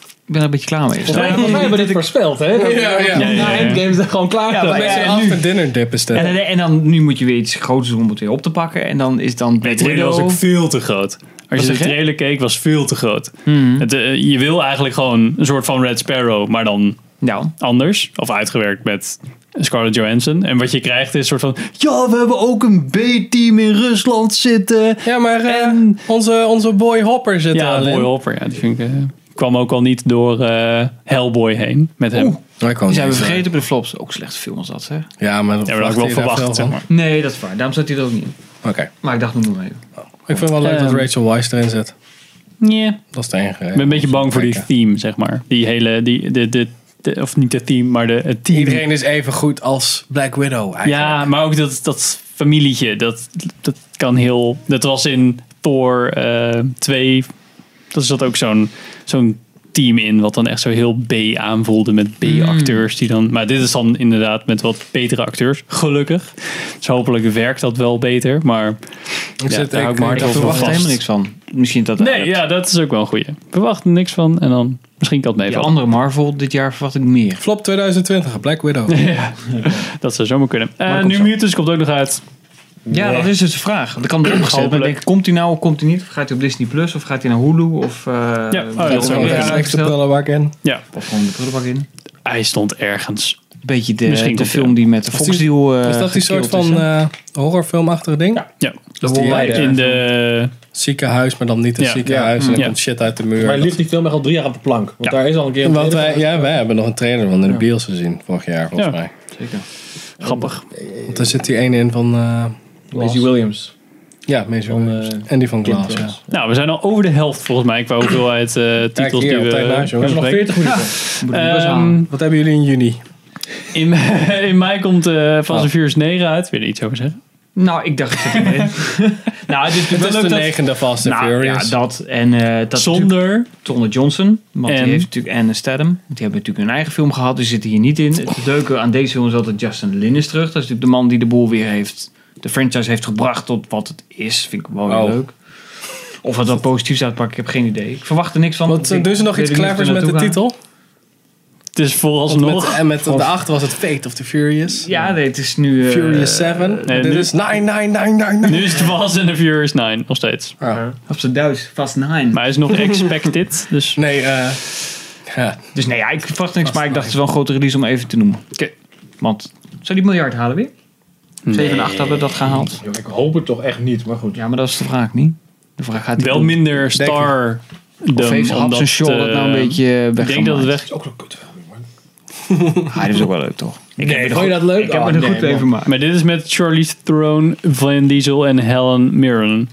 Speaker 3: Ik ben er een beetje klaar mee. Nou,
Speaker 4: Volgens mij- volgens mij hebben we dit voorspeld, hè? Dat
Speaker 2: Ja, ja.
Speaker 4: we Na Endgame is het gewoon klaar.
Speaker 3: Ja, maar-
Speaker 2: Een beetje
Speaker 3: en
Speaker 2: een
Speaker 3: nu?
Speaker 2: after dinner dip is dat.
Speaker 3: En, en, en dan, nu moet je weer iets groters doen om het weer op te pakken. En dan is dan
Speaker 1: De
Speaker 3: Black
Speaker 1: trailer was
Speaker 3: Widow.
Speaker 1: ook veel te groot. Als je
Speaker 3: zeg
Speaker 1: de
Speaker 3: je?
Speaker 1: trailer keek, was veel te groot.
Speaker 3: Mhm.
Speaker 1: Het, eh, je wil eigenlijk gewoon een soort van Red Sparrow, maar dan
Speaker 3: Nou,
Speaker 1: anders. Of uitgewerkt met Scarlett Johansson. En wat je krijgt is een soort van... Ja, we hebben ook een B-team in Rusland zitten.
Speaker 2: Ja, maar eh,
Speaker 1: En-
Speaker 2: onze, onze boy Hopper zit
Speaker 1: Ja,
Speaker 2: er al
Speaker 1: Boy
Speaker 2: in.
Speaker 1: Hopper. Ja, die vind ik, eh, kwam ook al niet door eh, Hellboy heen met hem.
Speaker 2: Hij kwam
Speaker 3: Die zijn we
Speaker 2: niet,
Speaker 3: vergeten op de flops. Ook slecht film als dat, zeg.
Speaker 2: eh, Ja, maar dat
Speaker 1: Ja, maar dat had ik
Speaker 2: verwacht
Speaker 1: wel
Speaker 2: je daar veel
Speaker 1: verwacht, zeg
Speaker 2: van.
Speaker 1: maar.
Speaker 3: Nee, dat is waar. Daarom zat hij er ook niet in.
Speaker 2: Oké.
Speaker 3: Maar ik dacht, noem maar even.
Speaker 2: Ik vind wel leuk dat
Speaker 1: Ehm.
Speaker 2: Rachel Weisz erin zit.
Speaker 1: Nee.
Speaker 2: Dat is de enige.
Speaker 1: Ik ben een beetje bang voor die theme, zeg maar. Die hele... Die, de, de, de- of niet het theme, maar de, het team.
Speaker 2: Iedereen is even goed als Black Widow eigenlijk.
Speaker 1: Ja, maar ook dat, dat familietje, dat, dat kan heel... Dat was in Thor eh 2, dat zat ook zo'n zo'n team in, wat dan echt zo heel B aanvoelde met B-acteurs. die dan. Maar dit is dan inderdaad met wat betere acteurs, gelukkig. Dus hopelijk werkt dat wel beter, maar...
Speaker 2: Ik
Speaker 1: Ja,
Speaker 2: zit
Speaker 1: daar
Speaker 2: ik,
Speaker 1: hou ik maar
Speaker 2: ik
Speaker 1: heel veel
Speaker 2: verwacht
Speaker 1: van.
Speaker 3: Daar
Speaker 1: Vast.
Speaker 3: helemaal niks van. Misschien dat...
Speaker 1: Nee, ja, dat is ook wel een goeie. Verwacht er niks van en dan misschien kan het
Speaker 3: Die
Speaker 1: meevallen.
Speaker 3: andere Marvel dit jaar verwacht ik meer.
Speaker 2: Flop 2020, Black Widow.
Speaker 1: Ja, dat zou zomaar kunnen. Eh,
Speaker 3: komt
Speaker 1: New
Speaker 3: zo.
Speaker 1: Mutants komt ook nog uit.
Speaker 3: Ja, dat is dus de vraag. Dat kan erop gezet.
Speaker 1: Hopelijk.
Speaker 3: Maar denk, komt hij nou of komt hij niet? Of gaat hij op Disney Plus? Of gaat hij naar Hulu? Of eh
Speaker 2: Oh,
Speaker 1: ja,
Speaker 3: wordt
Speaker 1: dat
Speaker 3: hij
Speaker 1: is
Speaker 3: ook
Speaker 1: wel
Speaker 3: weer
Speaker 1: een
Speaker 2: Ja, extra
Speaker 3: uitgesteld?
Speaker 2: pillen waar ik in.
Speaker 1: Ja,
Speaker 3: Of gewoon de prullenbak in.
Speaker 1: hij stond ergens.
Speaker 3: Beetje de,
Speaker 1: Misschien
Speaker 3: de
Speaker 1: komt hij
Speaker 3: film die met de
Speaker 2: die-
Speaker 3: Fox deal eh
Speaker 2: Is dat die soort
Speaker 3: gekild is,
Speaker 2: van
Speaker 3: hè?
Speaker 2: eh, horrorfilmachtige ding?
Speaker 1: Ja,
Speaker 2: Dat is die
Speaker 4: Hollider.
Speaker 2: eh,
Speaker 1: in de...
Speaker 2: ziekenhuis, maar dan niet een
Speaker 1: Ja.
Speaker 2: ziekenhuis. En
Speaker 1: Ja.
Speaker 2: er komt shit uit de muur.
Speaker 4: Maar liefst die film echt al drie jaar op de plank.
Speaker 1: Ja.
Speaker 4: Want daar is al een keer een
Speaker 2: Want
Speaker 4: trailer
Speaker 2: wij, ja, wij hebben nog een trailer van in de bios gezien vorig jaar, volgens
Speaker 1: Ja.
Speaker 2: mij.
Speaker 3: Zeker.
Speaker 1: Grappig.
Speaker 2: Want er zit die ene in van... eh,
Speaker 4: van Maisie Williams.
Speaker 2: ja, meestal.
Speaker 4: Van, eh,
Speaker 2: en die van
Speaker 4: Kind
Speaker 2: Glass, ja.
Speaker 4: Girls.
Speaker 1: Nou, we zijn al over de helft volgens mij qua hoeveelheid eh,
Speaker 2: Kijk
Speaker 1: titels
Speaker 2: hier, op
Speaker 1: die
Speaker 2: tijd
Speaker 1: we
Speaker 2: naast,
Speaker 4: We
Speaker 2: jongens.
Speaker 4: hebben nog 40 minuten.
Speaker 3: Moet ik best halen.
Speaker 1: Ehm,
Speaker 2: Wat hebben jullie in juni?
Speaker 1: in, in mei komt eh Fast
Speaker 2: Oh.
Speaker 1: and Furious 9 uit. Wil je er iets over zeggen?
Speaker 3: Nou, ik dacht... ik zit erin. nou, het is
Speaker 2: Het
Speaker 3: natuurlijk
Speaker 2: is
Speaker 3: wel
Speaker 2: de
Speaker 3: leuk dat...
Speaker 2: negende Fast and
Speaker 3: Nou, ja,
Speaker 2: Furious.
Speaker 3: dat. En eh, dat is natuurlijk-
Speaker 1: Zonder.
Speaker 3: Tonne Johnson. Want
Speaker 1: En?
Speaker 3: die heeft natuurlijk en Statham. want Die hebben natuurlijk hun eigen film gehad. Die zitten hier niet in. Het leuke aan deze film is altijd Justin Lin is terug. Dat is natuurlijk de man die de boel weer heeft. De franchise heeft gebracht tot wat het is. Vind ik wel heel
Speaker 2: Oh.
Speaker 3: leuk. Of dat wat positiefs uitpakt, ik heb geen idee. Ik verwacht er niks van.
Speaker 2: Wat, eh, doen ze nog
Speaker 3: Ik
Speaker 2: iets
Speaker 3: weet niet of
Speaker 2: clevers
Speaker 3: er
Speaker 2: met de
Speaker 3: naartoe
Speaker 2: titel?
Speaker 1: Het is vooralsnog.
Speaker 2: Met, en met de achter was het Fate of the Furious.
Speaker 3: gaan. Ja, nee, het is nu... eh,
Speaker 2: Furious 7.
Speaker 1: nee,
Speaker 2: dit
Speaker 1: nu-
Speaker 2: is 9999.
Speaker 1: Nu is het Fast and the Furious 9 nog steeds.
Speaker 2: Ah.
Speaker 3: Op zijn Duits, Fast Nine.
Speaker 1: Maar hij is nog expected. Dus
Speaker 2: Nee, eh ja,
Speaker 3: Dus nee, ja, ik verwacht niks. Maar ik dacht, het is wel een grote release om even te noemen.
Speaker 1: Oké.
Speaker 3: Want, zou die miljard halen weer? 7 en 8 hebben dat gehaald.
Speaker 4: Joh, Ik hoop het toch echt niet, maar goed.
Speaker 3: Ja, maar dat is de vraag niet. De vraag gaat die
Speaker 1: wel
Speaker 3: doen.
Speaker 1: minder star. eh,
Speaker 3: Of heeft Hans en Shaw dat nou een beetje weg
Speaker 1: Ik denk dat het weg.
Speaker 4: is ook zo'n kutfilm, man.
Speaker 3: Ah, dat is ook wel leuk, toch? Ik heb
Speaker 4: Vond je dat leuk?
Speaker 3: Ik heb
Speaker 4: Oh,
Speaker 3: me er
Speaker 4: nee,
Speaker 3: goed
Speaker 4: man.
Speaker 3: even maken.
Speaker 1: Maar dit is met Charlize Theron, Van Diesel en Helen Mirren.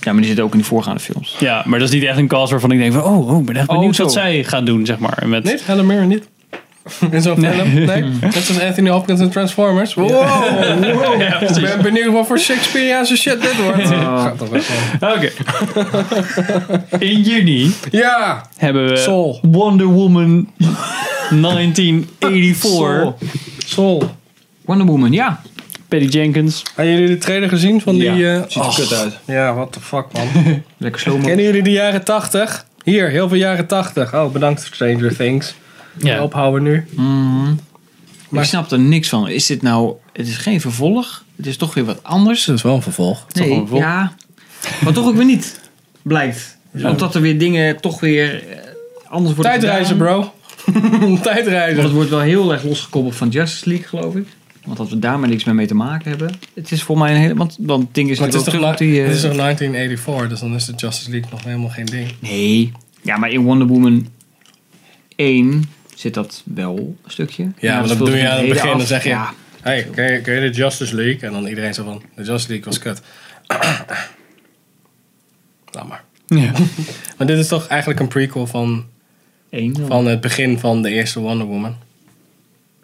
Speaker 3: Ja, maar die zit ook in die voorgaande films.
Speaker 1: Ja, maar dat is niet echt een cast waarvan ik denk van... Oh, oh ik ben echt
Speaker 3: Oh,
Speaker 1: benieuwd
Speaker 3: zo.
Speaker 1: wat zij gaat doen, zeg maar. En Met,
Speaker 2: Nee, Helen Mirren niet. In zo'n film? Nee. Net zoals Anthony Hopkins in Transformers. Wow, wow. Ik ben benieuwd wat voor Shakespeareaanse shit dit wordt. Gaat toch wel.
Speaker 1: Oké. In juni
Speaker 2: Ja,
Speaker 1: hebben we
Speaker 2: Sol.
Speaker 1: Wonder Woman 1984.
Speaker 3: Sol.
Speaker 2: Sol.
Speaker 3: Wonder Woman, ja.
Speaker 1: Patty Jenkins.
Speaker 2: Hebben jullie de trailer gezien van die... eh,
Speaker 4: Ziet er kut uit.
Speaker 2: ja, what the fuck man.
Speaker 3: Lekker slow
Speaker 2: Kennen jullie de jaren 80? Hier, heel veel jaren 80. Oh, bedankt Stranger Things.
Speaker 1: Ja.
Speaker 2: Ophouden nu.
Speaker 3: Ik snap er niks van. Is dit nou
Speaker 5: Het is geen vervolg. Het is toch weer wat anders.
Speaker 2: Dat is wel een vervolg.
Speaker 5: Nee,
Speaker 1: gewoon vol.
Speaker 5: ja. Maar toch ook weer niet, blijkt. Omdat er weer dingen toch weer eh, anders worden
Speaker 2: Tijdreizen,
Speaker 5: gedaan.
Speaker 2: bro.
Speaker 5: Want
Speaker 2: Tijdreizen.
Speaker 5: het wordt wel heel erg losgekoppeld van Justice League, geloof ik. Want dat we daar maar niks meer mee te maken hebben. Het is voor mij een hele... Want, want het ding is
Speaker 2: Maar het is toch
Speaker 5: natuurlijk
Speaker 2: la-
Speaker 5: ook
Speaker 2: het
Speaker 5: terug op die... eh,
Speaker 2: is toch 1984, dus dan is de Justice League nog helemaal geen ding.
Speaker 5: Nee. Ja, maar in Wonder Woman 1 zit dat wel een stukje.
Speaker 2: Ja,
Speaker 5: maar
Speaker 2: want dat
Speaker 5: speelt
Speaker 2: doe je
Speaker 5: zich
Speaker 2: aan het
Speaker 5: heden
Speaker 2: begin,
Speaker 5: af.
Speaker 2: dan zeg je-
Speaker 5: Ja,
Speaker 2: Hey, ken je, ken je de Justice League? En dan iedereen zo van, de Justice League was kut. Laat maar.
Speaker 1: Ja.
Speaker 2: Maar dit is toch eigenlijk een prequel van,
Speaker 5: 1 dan.
Speaker 2: van het begin van de eerste Wonder Woman.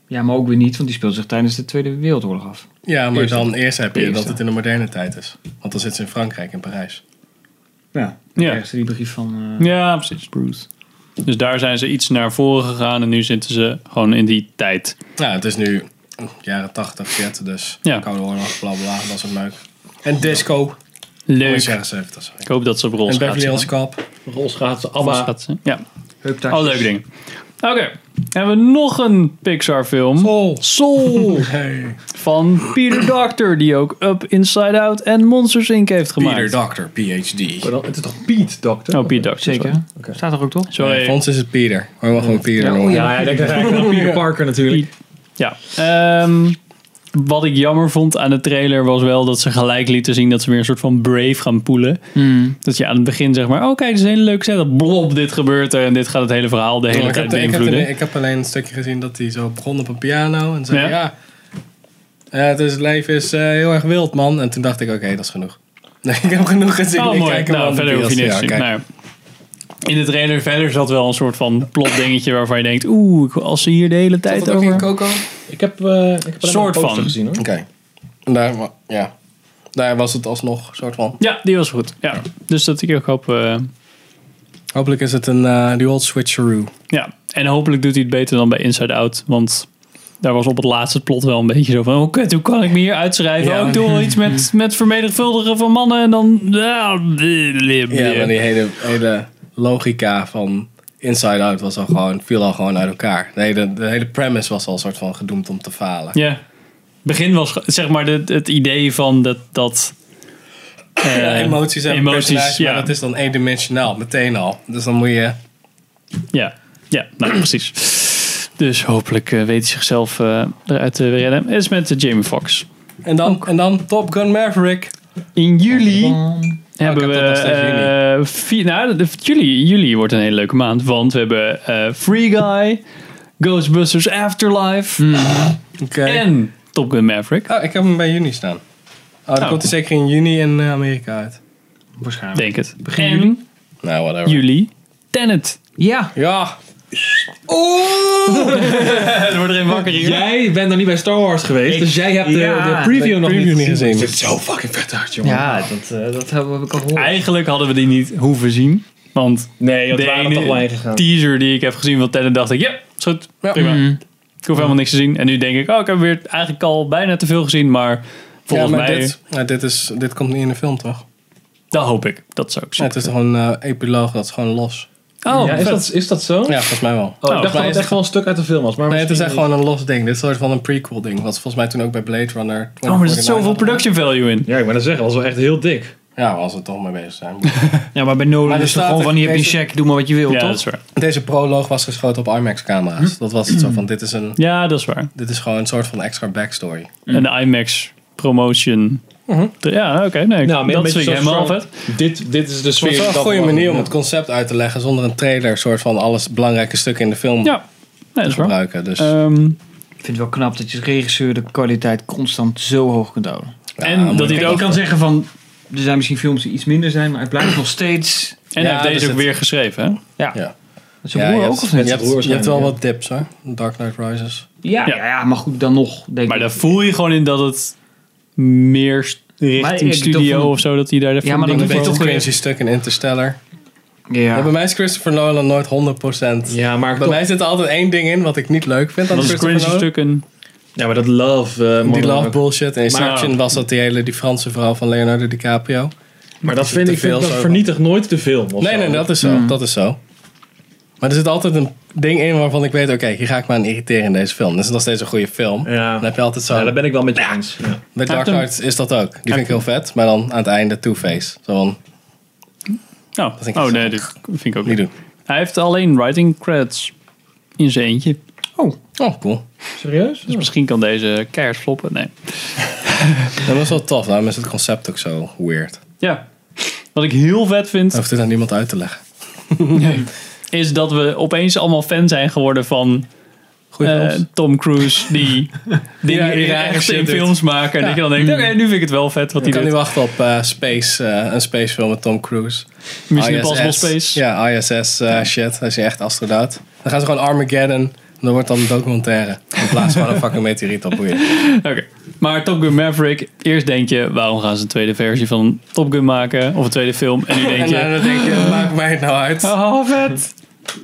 Speaker 5: Ja, maar ook weer niet, want die speelt zich tijdens de Tweede Wereldoorlog af.
Speaker 2: Ja, maar
Speaker 5: Eerste.
Speaker 2: dan eerst heb je
Speaker 5: Eerste.
Speaker 2: dat het in de moderne tijd is. Want dan zit ze in Frankrijk, in Parijs.
Speaker 5: Ja.
Speaker 1: Ja.
Speaker 5: Ergens die brief van... eh,
Speaker 1: ja, precies. Bruce. Dus daar zijn ze iets naar voren gegaan en nu zitten ze gewoon in die tijd.
Speaker 2: Nou, het is nu mm, jaren 80, 40, dus
Speaker 1: Ja.
Speaker 2: Koude Oorlog, bla bla, dat soort meuk. En disco.
Speaker 1: Leuk.
Speaker 2: Leuk. Jaren 70, sorry.
Speaker 1: Ik hoop dat ze op rol
Speaker 2: En
Speaker 1: gaat
Speaker 2: Beverly Hills
Speaker 1: zitten.
Speaker 2: Cop.
Speaker 4: Rolschaatsen,
Speaker 1: Rol
Speaker 4: ABBA.
Speaker 1: gaat zitten. Ja,
Speaker 5: heuptaartjes.
Speaker 4: Oh,
Speaker 1: al leuke dingen. Oké, hebben we nog een Pixar film.
Speaker 2: Soul.
Speaker 1: Soul
Speaker 2: Hey.
Speaker 1: van Peter Doctor, die ook Up Inside Out en Monsters Inc. heeft gemaakt.
Speaker 2: Peter Doctor, PhD.
Speaker 4: Maar dan- Het is toch Piet, dokter?
Speaker 1: Oh, Peter Doctor.
Speaker 5: Zeker. Staat er ook toch?
Speaker 1: Sorry.
Speaker 2: Voor ons is het Peter. Maar we mogen gewoon Peter noemen.
Speaker 4: Ja, ja, ik denk dat hij eigenlijk aan Peter Parker natuurlijk.
Speaker 1: Ja. Ehm, wat ik jammer vond aan de trailer was wel dat ze gelijk lieten zien dat ze weer een soort van brave gaan poelen.
Speaker 2: Hmm.
Speaker 1: Dat je aan het begin zeg maar, oh kijk, dit is een hele leuke setup. Blop, dit gebeurt er en dit gaat het hele verhaal de hele
Speaker 2: ik,
Speaker 1: tijd
Speaker 2: heb, ik, heb,
Speaker 1: beïnvloeden.
Speaker 2: ik heb alleen een stukje gezien dat hij zo begon op een piano. En zei,
Speaker 1: Ja.
Speaker 2: ja, eh, het, is, het leven is eh, heel erg wild, man. En toen dacht ik, oké, dat is genoeg. Nee, ik heb genoeg gezien.
Speaker 1: Oh,
Speaker 2: ik
Speaker 1: mooi.
Speaker 2: kijk hem
Speaker 1: nou,
Speaker 2: aan de
Speaker 1: verder hoef je
Speaker 2: DLC.
Speaker 1: niks
Speaker 2: Ja,
Speaker 1: te zien.
Speaker 2: kijk.
Speaker 1: Nou, in de trailer verder zat wel een soort van plot dingetje waarvan je denkt, oeh, ik- als ze hier de hele
Speaker 2: Zat
Speaker 1: tijd
Speaker 2: dat ook in
Speaker 1: over...
Speaker 2: Coco?
Speaker 4: Ik heb, eh ik heb alleen maar een
Speaker 1: Soort
Speaker 4: poster
Speaker 1: van.
Speaker 4: gezien hoor.
Speaker 2: Oké. En Daar, wa- ja. daar was het alsnog een soort van.
Speaker 1: Ja, die was goed. Ja. Dus dat ik ook hoop... eh,
Speaker 2: Hopelijk is het een eh die old switcheroo.
Speaker 1: Ja, en hopelijk doet hij het beter dan bij Inside Out. Want daar was op het laatste plot wel een beetje zo van... Oh kut, hoe kan ik me hier uitschrijven?
Speaker 2: Ja.
Speaker 1: Oh, ik doe wel iets met, met vermenigvuldigen van mannen en dan... Ja,
Speaker 2: Ja, maar die hele, hele logica van Inside Out was al gewoon, viel al gewoon uit elkaar. De hele, de hele premise was al een soort van gedoemd om te falen.
Speaker 1: Ja. begin was ge- zeg maar het, het idee van dat... dat eh,
Speaker 2: Ja, emoties hebben
Speaker 1: emoties,
Speaker 2: personages,
Speaker 1: ja.
Speaker 2: maar dat is dan eendimensionaal, meteen al. Dus dan moet je...
Speaker 1: Ja, ja nou, precies. Dus hopelijk eh, weet hij zichzelf eh, eruit te redden. Het is met eh, Jamie Foxx.
Speaker 2: En dan, en dan Top Gun Maverick.
Speaker 1: In juli... hebben
Speaker 2: ik
Speaker 1: we
Speaker 2: heb dat nog steeds
Speaker 1: eh, vier, nou, de- juli, juli wordt een hele leuke maand, want we hebben eh, Free Guy, Ghostbusters Afterlife
Speaker 2: Oké.
Speaker 1: en Top Gun Maverick,
Speaker 2: Oh, ik heb hem bij juni staan. Oh, dan
Speaker 1: Oh.
Speaker 2: komt hij zeker in juni in eh, Amerika uit.
Speaker 5: Waarschijnlijk.
Speaker 1: denk het. Begin juli?
Speaker 2: Nou, whatever.
Speaker 1: juli Tenet.
Speaker 5: Ja.
Speaker 2: Ja.
Speaker 1: Er wordt erin wakker hier.
Speaker 4: Jij bent nog niet bij Star Wars geweest, dus jij hebt de,
Speaker 5: Ja,
Speaker 4: de preview nog
Speaker 2: preview
Speaker 4: niet
Speaker 2: niet gezien.
Speaker 4: Het is zo fucking vet uit, jongen.
Speaker 5: Ja, dat, eh, dat hebben we ook al gehoord.
Speaker 1: Eigenlijk hadden we die niet hoeven zien, want
Speaker 4: Nee, want
Speaker 1: de
Speaker 4: we waren
Speaker 1: ene
Speaker 4: toch lijn gegaan.
Speaker 1: teaser die ik heb gezien van Tenet dacht ik, ja, is goed,
Speaker 2: Ja.
Speaker 1: prima. Ik hoef helemaal niks te zien. En nu denk ik, oh, ik heb weer eigenlijk al bijna te veel gezien, maar volgens
Speaker 2: ja, maar
Speaker 1: mij,
Speaker 2: Dit, nou, dit, is, dit komt niet in de film, toch?
Speaker 1: dat hoop ik. Dat zou ik
Speaker 2: Ja,
Speaker 1: zien.
Speaker 2: het is toch een eh, epiloog, dat is gewoon los.
Speaker 1: Oh,
Speaker 4: ja, is,
Speaker 1: vet.
Speaker 4: dat, is dat zo?
Speaker 2: Ja, volgens mij wel.
Speaker 4: Oh,
Speaker 1: Nou,
Speaker 4: ik dacht
Speaker 1: volgens mij
Speaker 4: dat
Speaker 2: is
Speaker 4: het
Speaker 2: het-
Speaker 4: echt wel een stuk uit de film was. Maar
Speaker 2: Nee, het is echt
Speaker 4: misschien
Speaker 2: gewoon een los ding. Dit is een soort van een prequel ding. Wat ze volgens mij toen ook bij Blade Runner...
Speaker 1: Oh, maar er zit zoveel
Speaker 2: producten.
Speaker 1: production value in.
Speaker 4: niet. Ja, ik ben dat zeggen, was wel echt heel dik.
Speaker 2: Ja, als we toch mee bezig zijn.
Speaker 5: Ja, maar bij Nolan
Speaker 2: Maar er
Speaker 5: is het
Speaker 2: staat
Speaker 5: Dus gewoon
Speaker 2: er-
Speaker 5: van, je hebt een
Speaker 2: deze-
Speaker 5: check, doe maar wat je wil,
Speaker 1: Ja,
Speaker 5: toch?
Speaker 1: dat is waar.
Speaker 2: Deze proloog was geschoten op IMAX-camera's.
Speaker 1: Hm?
Speaker 2: Dat was het zo van, dit is, een,
Speaker 1: Ja, dat is waar.
Speaker 2: dit is gewoon een soort van extra backstory.
Speaker 1: Een IMAX promotion. Ja, oké. nee, ik-
Speaker 4: Nou, een
Speaker 1: dat
Speaker 4: beetje
Speaker 1: vind ik
Speaker 4: zoals
Speaker 1: helemaal vet.
Speaker 4: Frank- Dit, dit is de
Speaker 2: Het
Speaker 4: sfeer.
Speaker 2: was wel een
Speaker 4: dat
Speaker 2: goede
Speaker 4: we-
Speaker 2: manier om het concept uit te leggen zonder een trailer, soort van alles belangrijke stukken in de film
Speaker 1: Ja, nee, dat is
Speaker 2: te
Speaker 1: waar.
Speaker 2: gebruiken. Dus
Speaker 1: Ehm,
Speaker 5: Ik vind het wel knap dat je als regisseur de kwaliteit constant zo hoog kunt houden.
Speaker 2: ja,
Speaker 1: en
Speaker 2: maar
Speaker 1: dat hij
Speaker 2: kijk,
Speaker 1: het ook
Speaker 5: Ik kan zeggen van, er zijn misschien films die iets minder zijn, maar het blijft nog steeds...
Speaker 1: En
Speaker 2: Ja,
Speaker 1: hij heeft
Speaker 2: dus
Speaker 1: deze ook
Speaker 2: het-
Speaker 1: weer geschreven, hè?
Speaker 2: Ja,
Speaker 5: Dat is
Speaker 2: ja, je,
Speaker 5: ook
Speaker 2: hebt,
Speaker 5: of
Speaker 2: je,
Speaker 5: niet?
Speaker 2: hebt,
Speaker 4: broer
Speaker 2: je hebt wel
Speaker 4: zijn, ja.
Speaker 2: wat dips hoor. Dark Knight Rises.
Speaker 5: Ja, ja. ja, maar goed, dan nog. Denk
Speaker 1: Maar
Speaker 5: ik.
Speaker 1: daar voel je gewoon in dat het meer st-
Speaker 5: Maar
Speaker 1: richting
Speaker 5: ik- dat
Speaker 1: studio
Speaker 5: vond-
Speaker 1: of zo, dat hij daar even
Speaker 5: Ja, maar
Speaker 1: dingen
Speaker 5: dat
Speaker 2: Een
Speaker 5: weet
Speaker 1: voor-
Speaker 2: beetje
Speaker 5: toch weer-
Speaker 2: cringy stuk in Interstellar. Ja, bij
Speaker 5: Ja.
Speaker 2: mij is Christopher Nolan nooit 100%.
Speaker 4: Ja, maar,
Speaker 2: Bij
Speaker 4: toch-
Speaker 2: mij zit er altijd één ding in wat ik niet leuk vind aan
Speaker 1: Dat is
Speaker 2: Christopher
Speaker 1: cringe
Speaker 2: Nolan.
Speaker 1: stukken.
Speaker 4: ja, maar dat love... eh,
Speaker 2: Die
Speaker 4: monoloog.
Speaker 2: love bullshit. En Inception
Speaker 1: Maar-
Speaker 2: was dat die hele die Franse vrouw van Leonardo DiCaprio.
Speaker 4: Maar dat vind
Speaker 2: Te
Speaker 4: ik, vind
Speaker 2: veel
Speaker 4: dat
Speaker 2: zo.
Speaker 4: vernietigt nooit de film. of
Speaker 2: Nee,
Speaker 4: zo.
Speaker 2: nee, dat is zo. Dat is zo. Maar Maar er zit altijd een ding in waarvan ik weet, oké, hier ga ik me aan irriteren in deze film. Dat is nog steeds een goede film.
Speaker 4: Ja.
Speaker 2: Dan heb je altijd zo...
Speaker 4: Ja, daar ben ik wel met je eens. Ja.
Speaker 2: Met Dark Knight is dat ook. Die vind ik heel vet. Maar dan aan het einde Two-Face. Zo van,
Speaker 1: Oh,
Speaker 2: denk ik
Speaker 1: oh
Speaker 2: zo.
Speaker 1: nee, dat vind ik ook
Speaker 2: niet
Speaker 1: niet.
Speaker 2: doen.
Speaker 1: Hij heeft alleen writing credits in zijn eentje.
Speaker 2: Oh, cool.
Speaker 4: Serieus?
Speaker 1: Dus misschien kan deze keihard floppen. Nee.
Speaker 2: Dat is wel tof. Daarom is het concept ook zo weird.
Speaker 1: Ja. Wat ik heel vet vind,
Speaker 2: Dat hoeft het aan niemand uit te leggen.
Speaker 1: is dat we opeens allemaal fan zijn geworden van
Speaker 2: Goeie
Speaker 1: eh,
Speaker 2: films.
Speaker 1: Tom Cruise. Die dingen
Speaker 2: die rare
Speaker 1: echt
Speaker 2: shit
Speaker 1: in
Speaker 2: doet.
Speaker 1: films maken. En dat je dan denkt, oké, nu vind ik het wel vet wat
Speaker 2: Ik
Speaker 1: hij
Speaker 2: kan
Speaker 1: doet.
Speaker 2: niet wachten op eh, space, eh, een spacefilm met Tom Cruise.
Speaker 1: Mission
Speaker 2: ISS.
Speaker 1: Impossible Space.
Speaker 2: Ja, ISS eh, shit. Hij is echt astronaut. Dan gaan ze gewoon Armageddon. En dan wordt dan een documentaire. In plaats van een fucking meteoriet op boeien.
Speaker 1: Oké. Maar Top Gun Maverick, eerst denk je, waarom gaan ze een tweede versie van Top Gun maken? Of een tweede film? En nu denk
Speaker 2: En
Speaker 1: je,
Speaker 2: eh, dan denk je, maakt mij het nou uit.
Speaker 1: Oh, vet.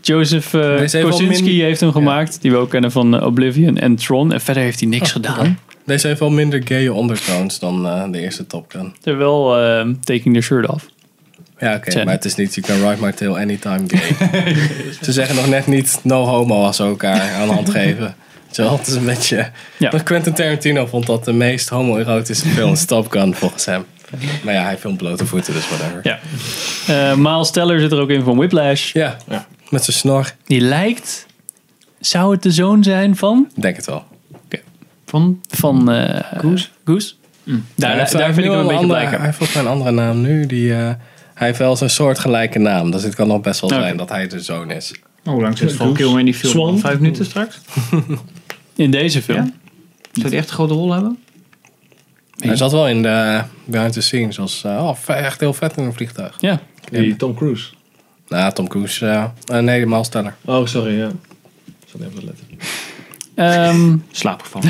Speaker 1: Joseph eh,
Speaker 2: Hij is even
Speaker 1: Kosinski
Speaker 2: min-
Speaker 1: heeft hem gemaakt. Die we ook kennen van eh, Oblivion en Tron. En verder heeft hij
Speaker 2: Oh,
Speaker 1: niks gedaan.
Speaker 2: Deze heeft wel minder gay ondertones dan eh, de eerste Top Gun.
Speaker 1: Terwijl eh, Taking the Shirt Off.
Speaker 2: Ja, oké,
Speaker 1: Tja.
Speaker 2: maar het is niet You Can Ride My Tail Anytime Gay. Ze zeggen nog net niet no homo als ze elkaar aan de hand geven. Weet je wel, het is een beetje...
Speaker 1: Ja.
Speaker 2: Maar Quentin Tarantino vond dat de meest homoerotische film is Top Gun, volgens hem. Maar ja, hij filmt blote voeten, dus whatever.
Speaker 1: Ja. Eh Miles Teller zit er ook in van Whiplash.
Speaker 2: Ja,
Speaker 4: Ja.
Speaker 2: met zijn snor.
Speaker 1: Die lijkt... Zou het de zoon zijn van?
Speaker 2: Ik Denk het wel.
Speaker 3: Van
Speaker 1: Van eh Goose? Mm. Daar,
Speaker 2: Hij heeft- hij
Speaker 1: daar
Speaker 2: heeft
Speaker 1: vind ik
Speaker 2: nu
Speaker 1: hem een
Speaker 2: wel
Speaker 1: beetje
Speaker 2: andere-
Speaker 1: blij
Speaker 2: Hij heeft volgens mij een andere naam nu. Die, eh, hij heeft wel zijn soortgelijke naam, dus het kan nog best wel
Speaker 1: Oké.
Speaker 2: zijn dat hij de zoon is.
Speaker 3: Oh, hoe lang zit Val
Speaker 4: Goose.
Speaker 3: Kilmer in die film?
Speaker 4: Swan.
Speaker 3: Vijf minuten straks?
Speaker 1: In deze film.
Speaker 3: Ja? Zou die echt een grote rol hebben?
Speaker 2: Hij zat wel in de behind the scenes, als eh, oh, echt heel vet in een vliegtuig.
Speaker 1: Ja.
Speaker 4: Die Tom Cruise.
Speaker 2: Nou, Tom Cruise. eh eh, nee, Miles Teller.
Speaker 4: Oh, sorry, ja. Ik zat even te letten.
Speaker 1: Ehm,
Speaker 3: Slaapgevallen.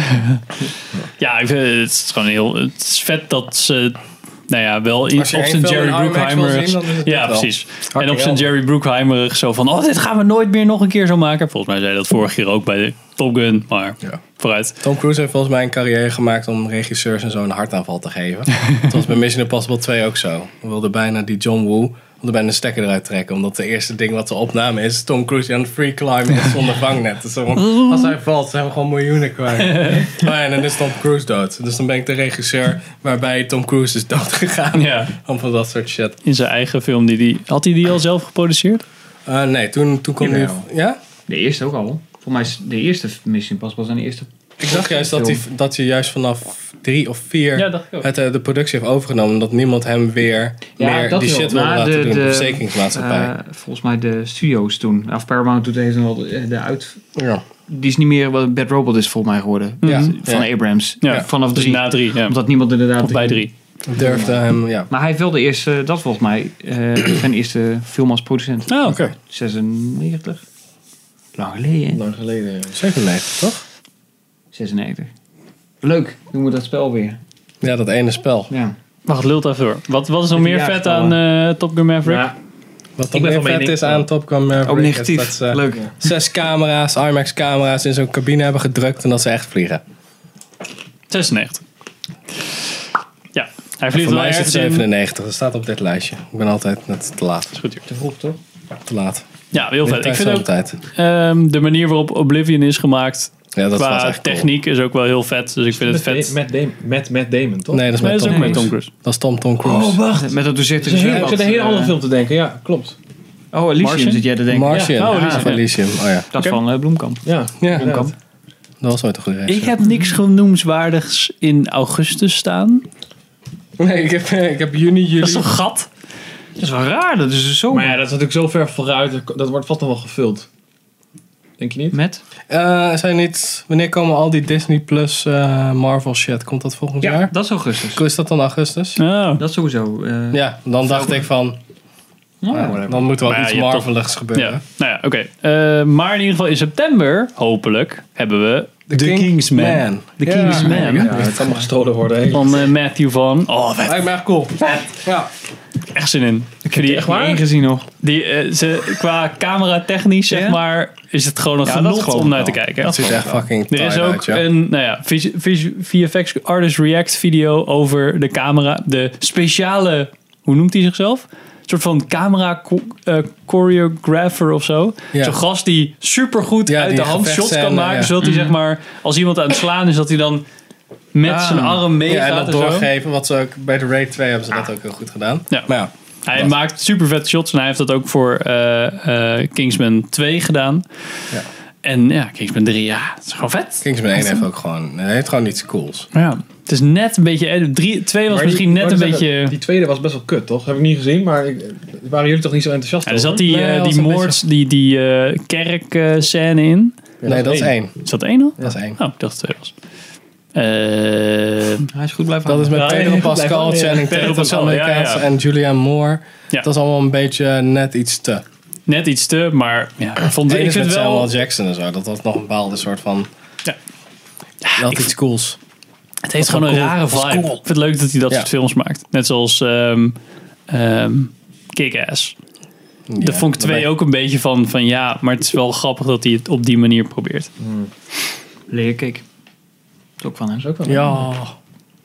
Speaker 1: ja, ik vind, het is gewoon heel... Het is vet dat ze... Nou ja, wel in, op
Speaker 2: Als je één
Speaker 1: zijn
Speaker 2: film in
Speaker 1: Jerry
Speaker 2: IMAX wil
Speaker 1: Bruckheimer...
Speaker 2: zien, dan is het
Speaker 1: Ja,
Speaker 2: dit wel.
Speaker 1: precies.
Speaker 2: Hartelijk
Speaker 1: en op zijn
Speaker 2: wel.
Speaker 1: Jerry Bruckheimerig zo van... Oh, dit gaan we nooit meer nog een keer zo maken. Volgens mij zei dat vorig jaar ook bij de Top Gun. Maar
Speaker 2: Ja.
Speaker 1: vooruit.
Speaker 2: Tom Cruise heeft volgens mij een carrière gemaakt om regisseurs en zo een hartaanval te geven. dat was bij Mission Impossible 2 ook zo. We wilden bijna die John Woo wilde bijna de stekker eruit trekken. Omdat de eerste ding wat ze opnamen is Tom Cruise die aan het free climb is zonder vangnet. Dus gewoon, als hij valt zijn we gewoon miljoenen kwijt. oh ja, en dan is Tom Cruise dood. Dus dan ben ik de regisseur waarbij Tom Cruise is dood gegaan.
Speaker 1: Ja,
Speaker 2: Om van dat soort shit.
Speaker 1: in zijn eigen film. Die die, had hij die al zelf geproduceerd?
Speaker 2: Eh, nee, toen, toen kwam die...
Speaker 3: Jawel.
Speaker 2: Ja?
Speaker 3: De eerste ook al. Volgens mij is de eerste Mission Impossible zijn eerste.
Speaker 2: Ik dacht juist dat, die, dat je juist vanaf drie of vier...
Speaker 1: dacht ik
Speaker 2: het, eh, de productie heeft overgenomen. Omdat niemand hem weer
Speaker 3: Ja,
Speaker 2: meer
Speaker 3: dat
Speaker 2: die
Speaker 3: wel.
Speaker 2: shit wil
Speaker 3: Maar
Speaker 2: laten
Speaker 3: de-
Speaker 2: doen. De
Speaker 3: de-
Speaker 2: verzekeringsmaatschappij.
Speaker 3: eh, volgens mij de studio's toen. Of Paramount doet deze wel de, de uit.
Speaker 2: ja.
Speaker 3: Die is niet meer wat Bad Robot is volgens mij geworden.
Speaker 2: Ja.
Speaker 3: Van
Speaker 2: Ja.
Speaker 3: Abrams.
Speaker 1: Ja.
Speaker 3: Vanaf
Speaker 1: Dus
Speaker 3: drie.
Speaker 1: na drie. Ja.
Speaker 3: Omdat niemand inderdaad.
Speaker 1: Of bij drie.
Speaker 2: Durfde hem, ja.
Speaker 3: Maar hij wilde eerst, eh, dat volgens mij, eh, zijn eerste film als producent.
Speaker 1: Oh,
Speaker 2: Ah, Oké.
Speaker 3: 96? Lang geleden, hè?
Speaker 4: Lang geleden, ja.
Speaker 2: 97, toch?
Speaker 3: 96. Leuk, doen we dat spel weer.
Speaker 2: Ja, dat ene spel.
Speaker 3: Ja.
Speaker 1: Wacht, lult even door. Wat, wat is nog
Speaker 3: Ja,
Speaker 1: meer
Speaker 3: ja,
Speaker 1: vet
Speaker 3: ja.
Speaker 1: aan eh, Top Gun Maverick?
Speaker 4: Ja,
Speaker 2: Wat dan
Speaker 4: ben
Speaker 2: meer
Speaker 4: van
Speaker 2: vet
Speaker 4: mening-
Speaker 2: is aan Top Gun Maverick...
Speaker 3: Ook
Speaker 2: is
Speaker 3: negatief.
Speaker 2: dat
Speaker 4: eh,
Speaker 2: ze
Speaker 3: Leuk.
Speaker 2: Zes camera's, IMAX-camera's in zo'n cabine hebben gedrukt... en dat ze echt vliegen.
Speaker 1: 96. Ja, hij vliegt
Speaker 2: Voor
Speaker 1: wel
Speaker 2: mij is het
Speaker 1: ergens in.
Speaker 2: 97. Dat staat op dit lijstje. Ik ben altijd net te laat.
Speaker 1: Is goed, joh.
Speaker 3: Te vroeg, toch?
Speaker 2: Te laat.
Speaker 1: Ja, heel vet. eh, Ik vind ook
Speaker 2: Tijd.
Speaker 1: ehm, de manier waarop Oblivion is gemaakt
Speaker 2: Ja, dat was
Speaker 1: qua
Speaker 2: echt cool.
Speaker 1: techniek is ook wel heel vet. Dus ik vind het
Speaker 4: Met,
Speaker 1: vet.
Speaker 4: Matt, Damon, met Matt Damon, toch?
Speaker 2: Nee, dat is
Speaker 1: Nee,
Speaker 2: met
Speaker 1: dat is
Speaker 2: Tom
Speaker 1: ook met
Speaker 2: Cruise.
Speaker 1: Tom Cruise.
Speaker 2: Dat is Tom Tom
Speaker 4: Oh,
Speaker 2: Cruise.
Speaker 3: Oh, Wacht. Met dat
Speaker 4: Ik
Speaker 3: doorzichtige
Speaker 4: zit
Speaker 3: zwembad,
Speaker 4: een hele
Speaker 3: eh,
Speaker 4: andere film te denken, ja, klopt.
Speaker 3: Oh, Elysium
Speaker 1: Martian?
Speaker 3: zit jij te denken.
Speaker 2: Martian.
Speaker 1: Ja, oh,
Speaker 2: Ah,
Speaker 1: Elysium,
Speaker 2: van
Speaker 1: ja.
Speaker 2: Elysium. Oh ja.
Speaker 3: Dat van eh, Bloemkamp.
Speaker 4: Ja,
Speaker 2: Ja,
Speaker 4: inderdaad.
Speaker 3: Bloemkamp.
Speaker 2: dat was nooit een goede reis.
Speaker 1: Ik heb niks genoemswaardigs in augustus staan.
Speaker 2: Nee, ik heb, ik heb juni,
Speaker 1: Dat is
Speaker 2: juli.
Speaker 1: een gat.
Speaker 3: Dat is wel raar, dat is dus zo.
Speaker 4: Maar ja, dat is natuurlijk zo ver vooruit, dat- dat wordt vast nog wel gevuld. Denk je niet?
Speaker 3: Met?
Speaker 2: Eh, zijn niet, wanneer komen al die Disney Plus eh, Marvel shit? Komt dat volgend jaar?
Speaker 3: Dat is augustus.
Speaker 2: Is dat dan augustus?
Speaker 1: Oh.
Speaker 3: Dat sowieso. eh,
Speaker 2: Ja, dan dacht ik van,
Speaker 3: nou,
Speaker 2: eh, dan moet er wel
Speaker 1: Maar ja,
Speaker 2: iets
Speaker 1: je hebt
Speaker 2: Marveligs gebeuren.
Speaker 1: Ja, nou ja, oké. Eh, maar in ieder geval in september, hopelijk, hebben we The, Kingsman. The
Speaker 2: Ja.
Speaker 1: Kingsman.
Speaker 4: Ja, het kan maar gestolen worden. hè.
Speaker 1: Van eh, Matthew Vaughn. Oh, vet.
Speaker 2: Lijkt me echt cool. Ja.
Speaker 1: Echt zin in. Ik heb die echt
Speaker 3: Eén gezien nog.
Speaker 1: Die, eh, ze, qua camera technisch, zeg
Speaker 3: Ja?
Speaker 1: maar, is het gewoon een
Speaker 3: Ja, dat
Speaker 1: genot
Speaker 3: geloof
Speaker 1: om
Speaker 3: ik
Speaker 1: naar te
Speaker 3: wel.
Speaker 1: kijken.
Speaker 2: Dat ziet er echt fucking
Speaker 1: er is
Speaker 2: taai
Speaker 1: ook
Speaker 2: uit, ja.
Speaker 1: een nou ja, vis- vis- VFX Artist React video over de camera. De speciale, hoe noemt hij zichzelf? soort van camera co- eh, choreographer of zo.
Speaker 2: Ja.
Speaker 1: Zo'n gast die supergoed
Speaker 2: Ja,
Speaker 1: uit
Speaker 2: die
Speaker 1: de hand shots
Speaker 2: gevechtscène,
Speaker 1: kan maken.
Speaker 2: ja. Mhm.
Speaker 1: Zodat hij zeg maar, als iemand aan het slaan is, dat hij dan met zijn arm
Speaker 2: Ah. Ja, en
Speaker 1: meegaat
Speaker 2: dat
Speaker 1: en zo.
Speaker 2: doorgeven, wat ze ook bij de Raid 2 hebben ze dat ook heel goed gedaan.
Speaker 1: Ja.
Speaker 2: Maar ja,
Speaker 1: Hij
Speaker 2: Dat.
Speaker 1: maakt super vette shots en hij heeft dat ook voor eh, eh, Kingsman 2 gedaan.
Speaker 2: Ja.
Speaker 1: En ja, Kingsman 3, ja, het is gewoon vet.
Speaker 2: Kingsman 1 heeft ook gewoon, hij heeft gewoon iets cools.
Speaker 1: Ja. Het is net een beetje, eh, drie, 2 was
Speaker 4: Maar die-
Speaker 1: misschien
Speaker 4: ik
Speaker 2: oh,
Speaker 1: net
Speaker 4: wou
Speaker 1: een
Speaker 4: zeggen,
Speaker 1: beetje...
Speaker 4: Die tweede was best wel kut, toch? Heb ik niet gezien, maar ik, waren jullie toch niet zo enthousiast
Speaker 1: Ja, er zat
Speaker 4: over?
Speaker 1: die,
Speaker 2: Nee,
Speaker 1: eh,
Speaker 2: dat was
Speaker 1: die
Speaker 2: een
Speaker 1: moord, die, die eh, kerkscène in.
Speaker 4: Ja,
Speaker 2: nee, dat is
Speaker 4: één.
Speaker 2: één.
Speaker 1: Is dat één al?
Speaker 2: Dat is één.
Speaker 1: Oh, ik dacht het twee was. Eh,
Speaker 3: Hij is goed blijven
Speaker 2: Dat is met
Speaker 1: Ja,
Speaker 2: Pedro
Speaker 1: ja,
Speaker 2: Pascal,
Speaker 1: blijkbaar, ja.
Speaker 2: Channing
Speaker 1: Pedro
Speaker 2: Tatum,
Speaker 1: Pascal,
Speaker 2: Samuel
Speaker 1: ja, ja.
Speaker 2: Jackson en Julianne Moore.
Speaker 1: Ja.
Speaker 2: Dat is allemaal een beetje net iets te.
Speaker 1: net iets te, maar ja, ik vond,
Speaker 2: Eén
Speaker 1: ik
Speaker 2: is
Speaker 1: vind
Speaker 2: met
Speaker 1: het
Speaker 2: Samuel
Speaker 1: wel...
Speaker 2: Jackson en zo. Dat was nog een bepaalde soort van...
Speaker 1: Ja.
Speaker 2: Dat iets cools.
Speaker 1: Het heeft gewoon een
Speaker 2: cool.
Speaker 1: rare
Speaker 2: Dat is
Speaker 1: vibe. Ik
Speaker 2: cool.
Speaker 1: vind het leuk dat hij dat
Speaker 2: Ja.
Speaker 1: soort films maakt. Net zoals ehm ehm, Kick-Ass. Daar vond ik twee ook een beetje van, van ja, maar het is wel grappig dat hij het op die manier probeert.
Speaker 3: Leerkick. Dat is ook van hem.
Speaker 4: Dat is ook wel
Speaker 2: Ja.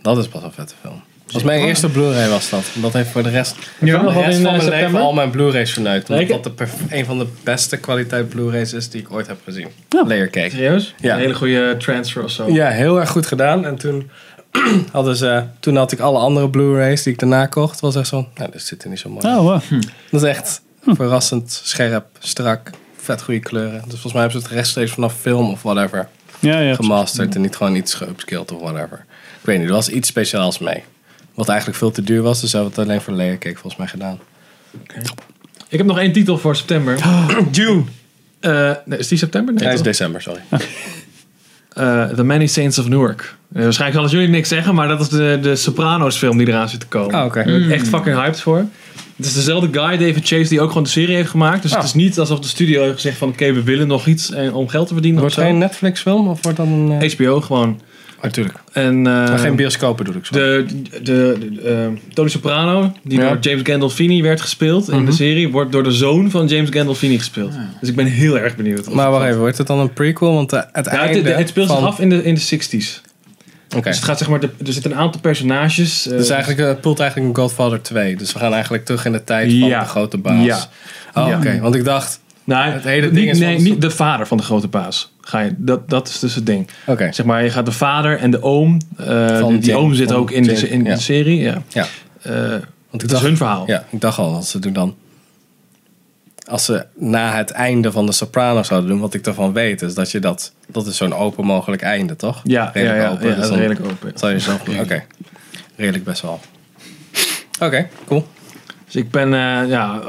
Speaker 2: Dat is pas een vette film. Dat was mijn eerste Blu-ray was dat. Dat heeft voor de rest,
Speaker 4: Je
Speaker 2: de
Speaker 4: nog wat
Speaker 2: rest
Speaker 4: in
Speaker 2: van
Speaker 4: eh,
Speaker 2: mijn leven
Speaker 4: september?
Speaker 2: al mijn Blu-rays verneukt. Omdat
Speaker 4: Nee, ik-
Speaker 2: dat de perf- een van de beste kwaliteit Blu-rays is die ik ooit heb gezien. Layer Cake.
Speaker 4: Serieus?
Speaker 2: Ja.
Speaker 4: Een hele goede transfer of zo.
Speaker 2: Ja, heel erg goed gedaan. En toen, hadden ze, toen had ik alle andere Blu-rays die ik daarna kocht. Het was echt zo, nou, dit zit er niet zo mooi.
Speaker 1: Oh, wow.
Speaker 2: Dat is echt verrassend scherp, strak, vet goede kleuren. Dus volgens mij hebben ze het rechtstreeks vanaf film of whatever
Speaker 1: Ja, ja.
Speaker 2: gemasterd. En niet gewoon iets geupskilled of whatever. Ik weet niet, er was iets speciaals mee. Wat eigenlijk veel te duur was, dus ze hebben het alleen voor Layer Cake volgens mij gedaan.
Speaker 4: Ik heb nog één titel voor september.
Speaker 2: June!
Speaker 4: Eh, nee, is die september? Nee,
Speaker 2: Nee, het is
Speaker 4: toch?
Speaker 2: december, sorry.
Speaker 4: Eh, The Many Saints of Newark. Eh, waarschijnlijk gaan jullie niks zeggen, maar dat is de, de Sopranos film die eraan zit te komen.
Speaker 2: Ah, oké.
Speaker 4: Daar ben ik echt fucking hyped voor. Het is dezelfde guy, David Chase, die ook gewoon de serie heeft gemaakt. Dus
Speaker 2: Ah.
Speaker 4: het is niet alsof de studio heeft gezegd van... Oké, we willen nog iets eh, om geld te verdienen
Speaker 2: Wordt
Speaker 4: of zo.
Speaker 2: geen Netflix film of wordt dan een... eh,
Speaker 4: HBO gewoon.
Speaker 2: Natuurlijk.
Speaker 4: En, eh,
Speaker 2: Maar geen bioscopen bedoel ik zo.
Speaker 4: de, de, de, eh, Tony Soprano, die
Speaker 2: Ja. Mhm.
Speaker 4: door James Gandolfini werd gespeeld in de serie, wordt door de zoon van James Gandolfini gespeeld. Dus ik ben heel erg benieuwd. of-
Speaker 2: Maar wacht even, wordt het dan een prequel? Want eh, het
Speaker 4: Ja,
Speaker 2: einde
Speaker 4: het, het speelt zich
Speaker 2: van-
Speaker 4: af in de, in de 60s.
Speaker 2: Oké.
Speaker 4: Dus het gaat zeg maar, de- er zitten een aantal personages. eh,
Speaker 2: Dus eigenlijk, eh, het pult eigenlijk een Godfather 2. Dus we gaan eigenlijk terug in de tijd van
Speaker 4: Ja.
Speaker 2: de grote baas.
Speaker 4: Ja.
Speaker 2: Oh, oké.
Speaker 4: Ja.
Speaker 2: Want ik dacht...
Speaker 4: nou,
Speaker 2: het hele
Speaker 4: niet-
Speaker 2: ding is
Speaker 4: Nee,
Speaker 2: van-
Speaker 4: niet de vader van de grote baas. Ga je, dat, dat is dus het ding.
Speaker 2: Oké.
Speaker 4: Zeg maar, je gaat de vader en de oom. eh,
Speaker 2: Van
Speaker 4: die die
Speaker 2: Jim,
Speaker 4: oom zit
Speaker 2: van
Speaker 4: ook in,
Speaker 2: Jim,
Speaker 4: de, in
Speaker 2: ja.
Speaker 4: de serie. Ja.
Speaker 2: Ja.
Speaker 4: Eh,
Speaker 2: Want ik
Speaker 4: dat is
Speaker 2: dacht,
Speaker 4: hun verhaal.
Speaker 2: ja, ik dacht al, want ze doen dan... Als ze na het einde van de Sopranos zouden doen, wat ik daarvan weet, is dat je dat... Dat is zo'n open mogelijk einde, toch?
Speaker 4: Ja, ja, ja, ja,
Speaker 2: dus
Speaker 4: dat is
Speaker 2: dan
Speaker 4: redelijk open.
Speaker 2: Zal je zelf... Oké. Redelijk best wel. Oké, cool.
Speaker 4: Dus ik ben, eh, ja,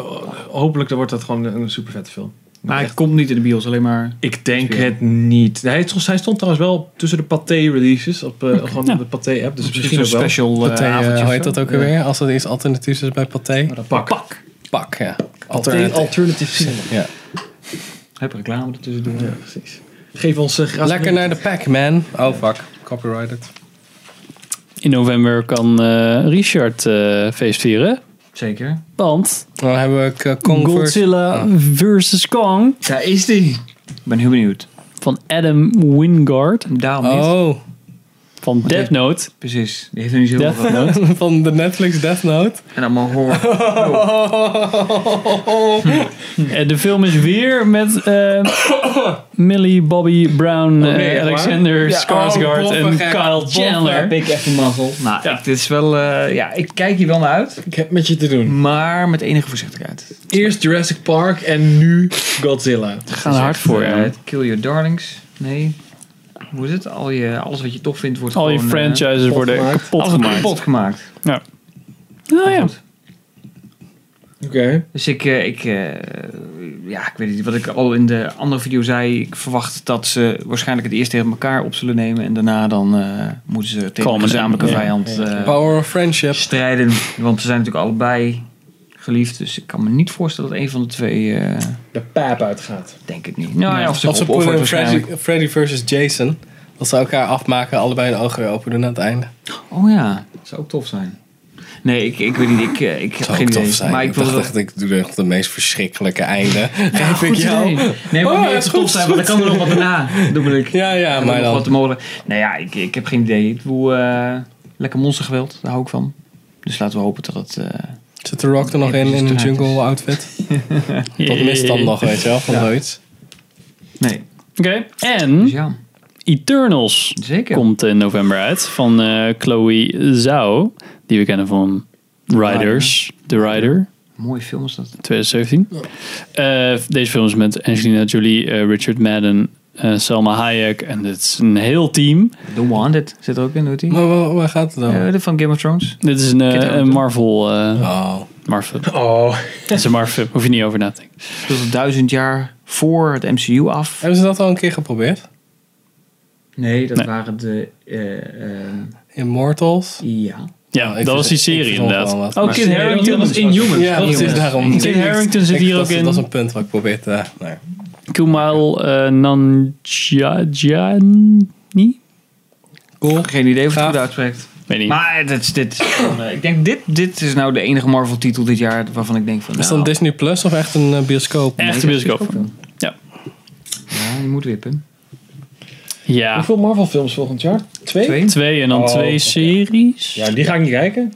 Speaker 4: hopelijk wordt dat gewoon een super vette film.
Speaker 3: Maar hij komt niet in de bios, alleen maar...
Speaker 4: Ik denk het niet. Hij stond, hij stond trouwens wel tussen de Pathé-releases, op, eh, gewoon op de Pathé-app. Dus misschien
Speaker 3: een
Speaker 4: ook wel.
Speaker 3: special eh,
Speaker 2: Pathé, eh,
Speaker 3: avondje
Speaker 2: hoe
Speaker 3: of
Speaker 2: heet
Speaker 3: zo.
Speaker 2: dat ook alweer? Als er iets alternatiefs is bij Pathé?
Speaker 4: Pak.
Speaker 2: Pak, ja.
Speaker 4: Pathé
Speaker 2: Alternatief.
Speaker 4: Alternative Cinema.
Speaker 2: Ja.
Speaker 3: Heb reclame ertussen doen.
Speaker 4: Ja, precies. Geef ons eh, graag...
Speaker 2: Lekker naar de pack, man. Oh, fuck. Copyrighted.
Speaker 1: In november kan eh, Richard eh, feest vieren.
Speaker 3: Zeker.
Speaker 1: Want
Speaker 2: Dan hebben we K- Kong versus-
Speaker 1: Godzilla
Speaker 2: Ah.
Speaker 1: vs. Kong
Speaker 3: Daar is die. Ik ben heel benieuwd.
Speaker 1: van Adam Wingard
Speaker 3: Daarom niet.
Speaker 2: Oh,
Speaker 1: van Death Note.
Speaker 3: Precies. Die heeft er niet zoveel
Speaker 1: Death
Speaker 3: van.
Speaker 1: Note.
Speaker 2: van de Netflix Death Note.
Speaker 3: En allemaal horror. Oh.
Speaker 1: En Eh, de film is weer met eh, Millie Bobby Brown, eh,
Speaker 4: echt waar?
Speaker 1: Alexander
Speaker 2: Ja,
Speaker 1: Skarsgård
Speaker 2: oh,
Speaker 1: en
Speaker 2: boffengek,
Speaker 1: Kyle Chandler.
Speaker 3: ik even mazzel. Nou,
Speaker 1: Ja.
Speaker 3: ik, dit is wel... eh, ja, ik kijk hier wel naar uit.
Speaker 4: Ik heb met je te doen.
Speaker 3: Maar met enige voorzichtigheid.
Speaker 4: Eerst Jurassic Park en nu Godzilla.
Speaker 1: We gaan er hard voor.
Speaker 3: Eh,
Speaker 1: ja.
Speaker 3: het Kill your darlings. Nee. Hoe is het? Al je, alles wat je tof vindt wordt
Speaker 1: Al je
Speaker 3: gewoon, eh,
Speaker 1: franchises worden
Speaker 4: gemaakt.
Speaker 1: kapot
Speaker 3: alles wordt
Speaker 1: gemaakt.
Speaker 3: kapot gemaakt.
Speaker 1: Nou ja.
Speaker 4: Oké.
Speaker 3: Dus ik, eh, ik eh, ja, ik weet niet wat ik al in de andere video zei. Ik verwacht dat ze waarschijnlijk het eerst tegen elkaar op zullen nemen. En daarna dan eh, moeten ze tegen
Speaker 1: Komen,
Speaker 3: een gezamenlijke
Speaker 1: ja.
Speaker 3: vijand eh,
Speaker 2: Power of Friendship.
Speaker 3: strijden. Want ze zijn natuurlijk allebei geliefd. Dus ik kan me niet voorstellen dat een van de twee, eh,
Speaker 4: De pijp uitgaat.
Speaker 3: denk ik niet. Nou ja, of ze
Speaker 2: Als we
Speaker 3: opoffert
Speaker 2: poelen in
Speaker 3: waarschijnlijk.
Speaker 2: Freddy, Freddy versus Jason. Dat ze elkaar afmaken, allebei hun ogen weer open doen aan het einde.
Speaker 3: Oh ja, dat zou ook tof zijn. Nee, ik, ik weet niet. Ik, eh, ik heb
Speaker 2: zou
Speaker 3: geen
Speaker 2: ook
Speaker 3: idee.
Speaker 2: tof zijn.
Speaker 3: Maar ik
Speaker 2: ik
Speaker 3: wil
Speaker 2: dacht
Speaker 3: wel...
Speaker 2: echt, ik doe echt de meest verschrikkelijke einde. Geef ik
Speaker 3: Goed
Speaker 2: jou.
Speaker 3: idee. Nee, maar
Speaker 2: Oh,
Speaker 3: meer
Speaker 2: is
Speaker 3: het
Speaker 2: goed,
Speaker 3: tof zijn,
Speaker 2: is
Speaker 3: want dan kan er nog wat daarna. Dat bedoel ik.
Speaker 2: Ja, ja,
Speaker 3: maar
Speaker 2: maar
Speaker 3: nog wat
Speaker 2: dan.
Speaker 3: te molen. Nou ja, ik, ik heb geen idee. Ik bedoel, eh, lekker monstergeweld, daar hou ik van. Dus laten we hopen dat het eh,
Speaker 2: Zit The Rock er nog in, in een jungle outfit? Dat mist dan nog, weet je wel, van zoiets.
Speaker 3: Nee.
Speaker 1: Oké.
Speaker 3: Dus
Speaker 1: En
Speaker 3: ja,
Speaker 1: Eternals
Speaker 3: zeker.
Speaker 1: komt in november uit van eh, Chloe Zhao. Die we kennen van Riders. The Rider.
Speaker 3: Mooie film is dat.
Speaker 1: 2017. Eh, deze film is met Angelina Jolie, eh, Richard Madden, eh, Selma Hayek. En het is een heel team.
Speaker 3: The Wanted zit er ook in, doet hij?
Speaker 2: Maar waar, waar gaat het dan?
Speaker 3: Eh, de van Game of Thrones.
Speaker 1: Dit is een, eh,
Speaker 3: Kid Harington.
Speaker 1: een Marvel. eh
Speaker 2: Oh.
Speaker 1: Marvel.
Speaker 4: Oh.
Speaker 1: Het is een Marvel. Hoef je niet over na te denken.
Speaker 3: Speelt het duizend jaar voor het MCU af.
Speaker 2: Hebben ze dat al een keer geprobeerd?
Speaker 3: Nee, dat
Speaker 1: Nee.
Speaker 3: waren de... eh, eh,
Speaker 2: Immortals?
Speaker 3: ja.
Speaker 1: Ja,
Speaker 2: ik
Speaker 1: dat
Speaker 2: vind-
Speaker 1: was die
Speaker 2: ik
Speaker 1: serie
Speaker 2: verzon
Speaker 1: inderdaad.
Speaker 2: wel wat.
Speaker 1: Oh,
Speaker 2: Maar
Speaker 1: Kid
Speaker 2: serie-
Speaker 1: Harington was in
Speaker 4: Inhumans.
Speaker 2: Ja,
Speaker 3: precies,
Speaker 2: precies
Speaker 3: jongens.
Speaker 2: daarom.
Speaker 1: Kid Harington zit
Speaker 2: Ik-
Speaker 1: hier
Speaker 2: dat
Speaker 1: ook
Speaker 2: is-
Speaker 1: in.
Speaker 2: Dat is een punt wat ik probeer te... Nee.
Speaker 1: Kumail eh, Nanjiani?
Speaker 2: Cool.
Speaker 3: Geen idee of je
Speaker 2: Gaaf.
Speaker 3: het goed uitspreekt.
Speaker 1: Weet niet.
Speaker 3: Maar dit, is- dit, is gewoon, eh, ik denk dit, dit is nou de enige Marvel titel dit jaar waarvan ik denk van...
Speaker 2: Is dat
Speaker 3: nou,
Speaker 2: een Disney Plus of echt een eh, bioscoop?
Speaker 1: Echt een
Speaker 3: dat is
Speaker 1: bioscoop.
Speaker 3: ja, je moet wippen.
Speaker 1: Ja.
Speaker 4: Hoeveel Marvel films volgend jaar? Twee?
Speaker 3: Twee?
Speaker 1: Twee en dan
Speaker 4: Oh,
Speaker 1: twee
Speaker 4: oké.
Speaker 1: series.
Speaker 4: Ja, die ga ik niet kijken.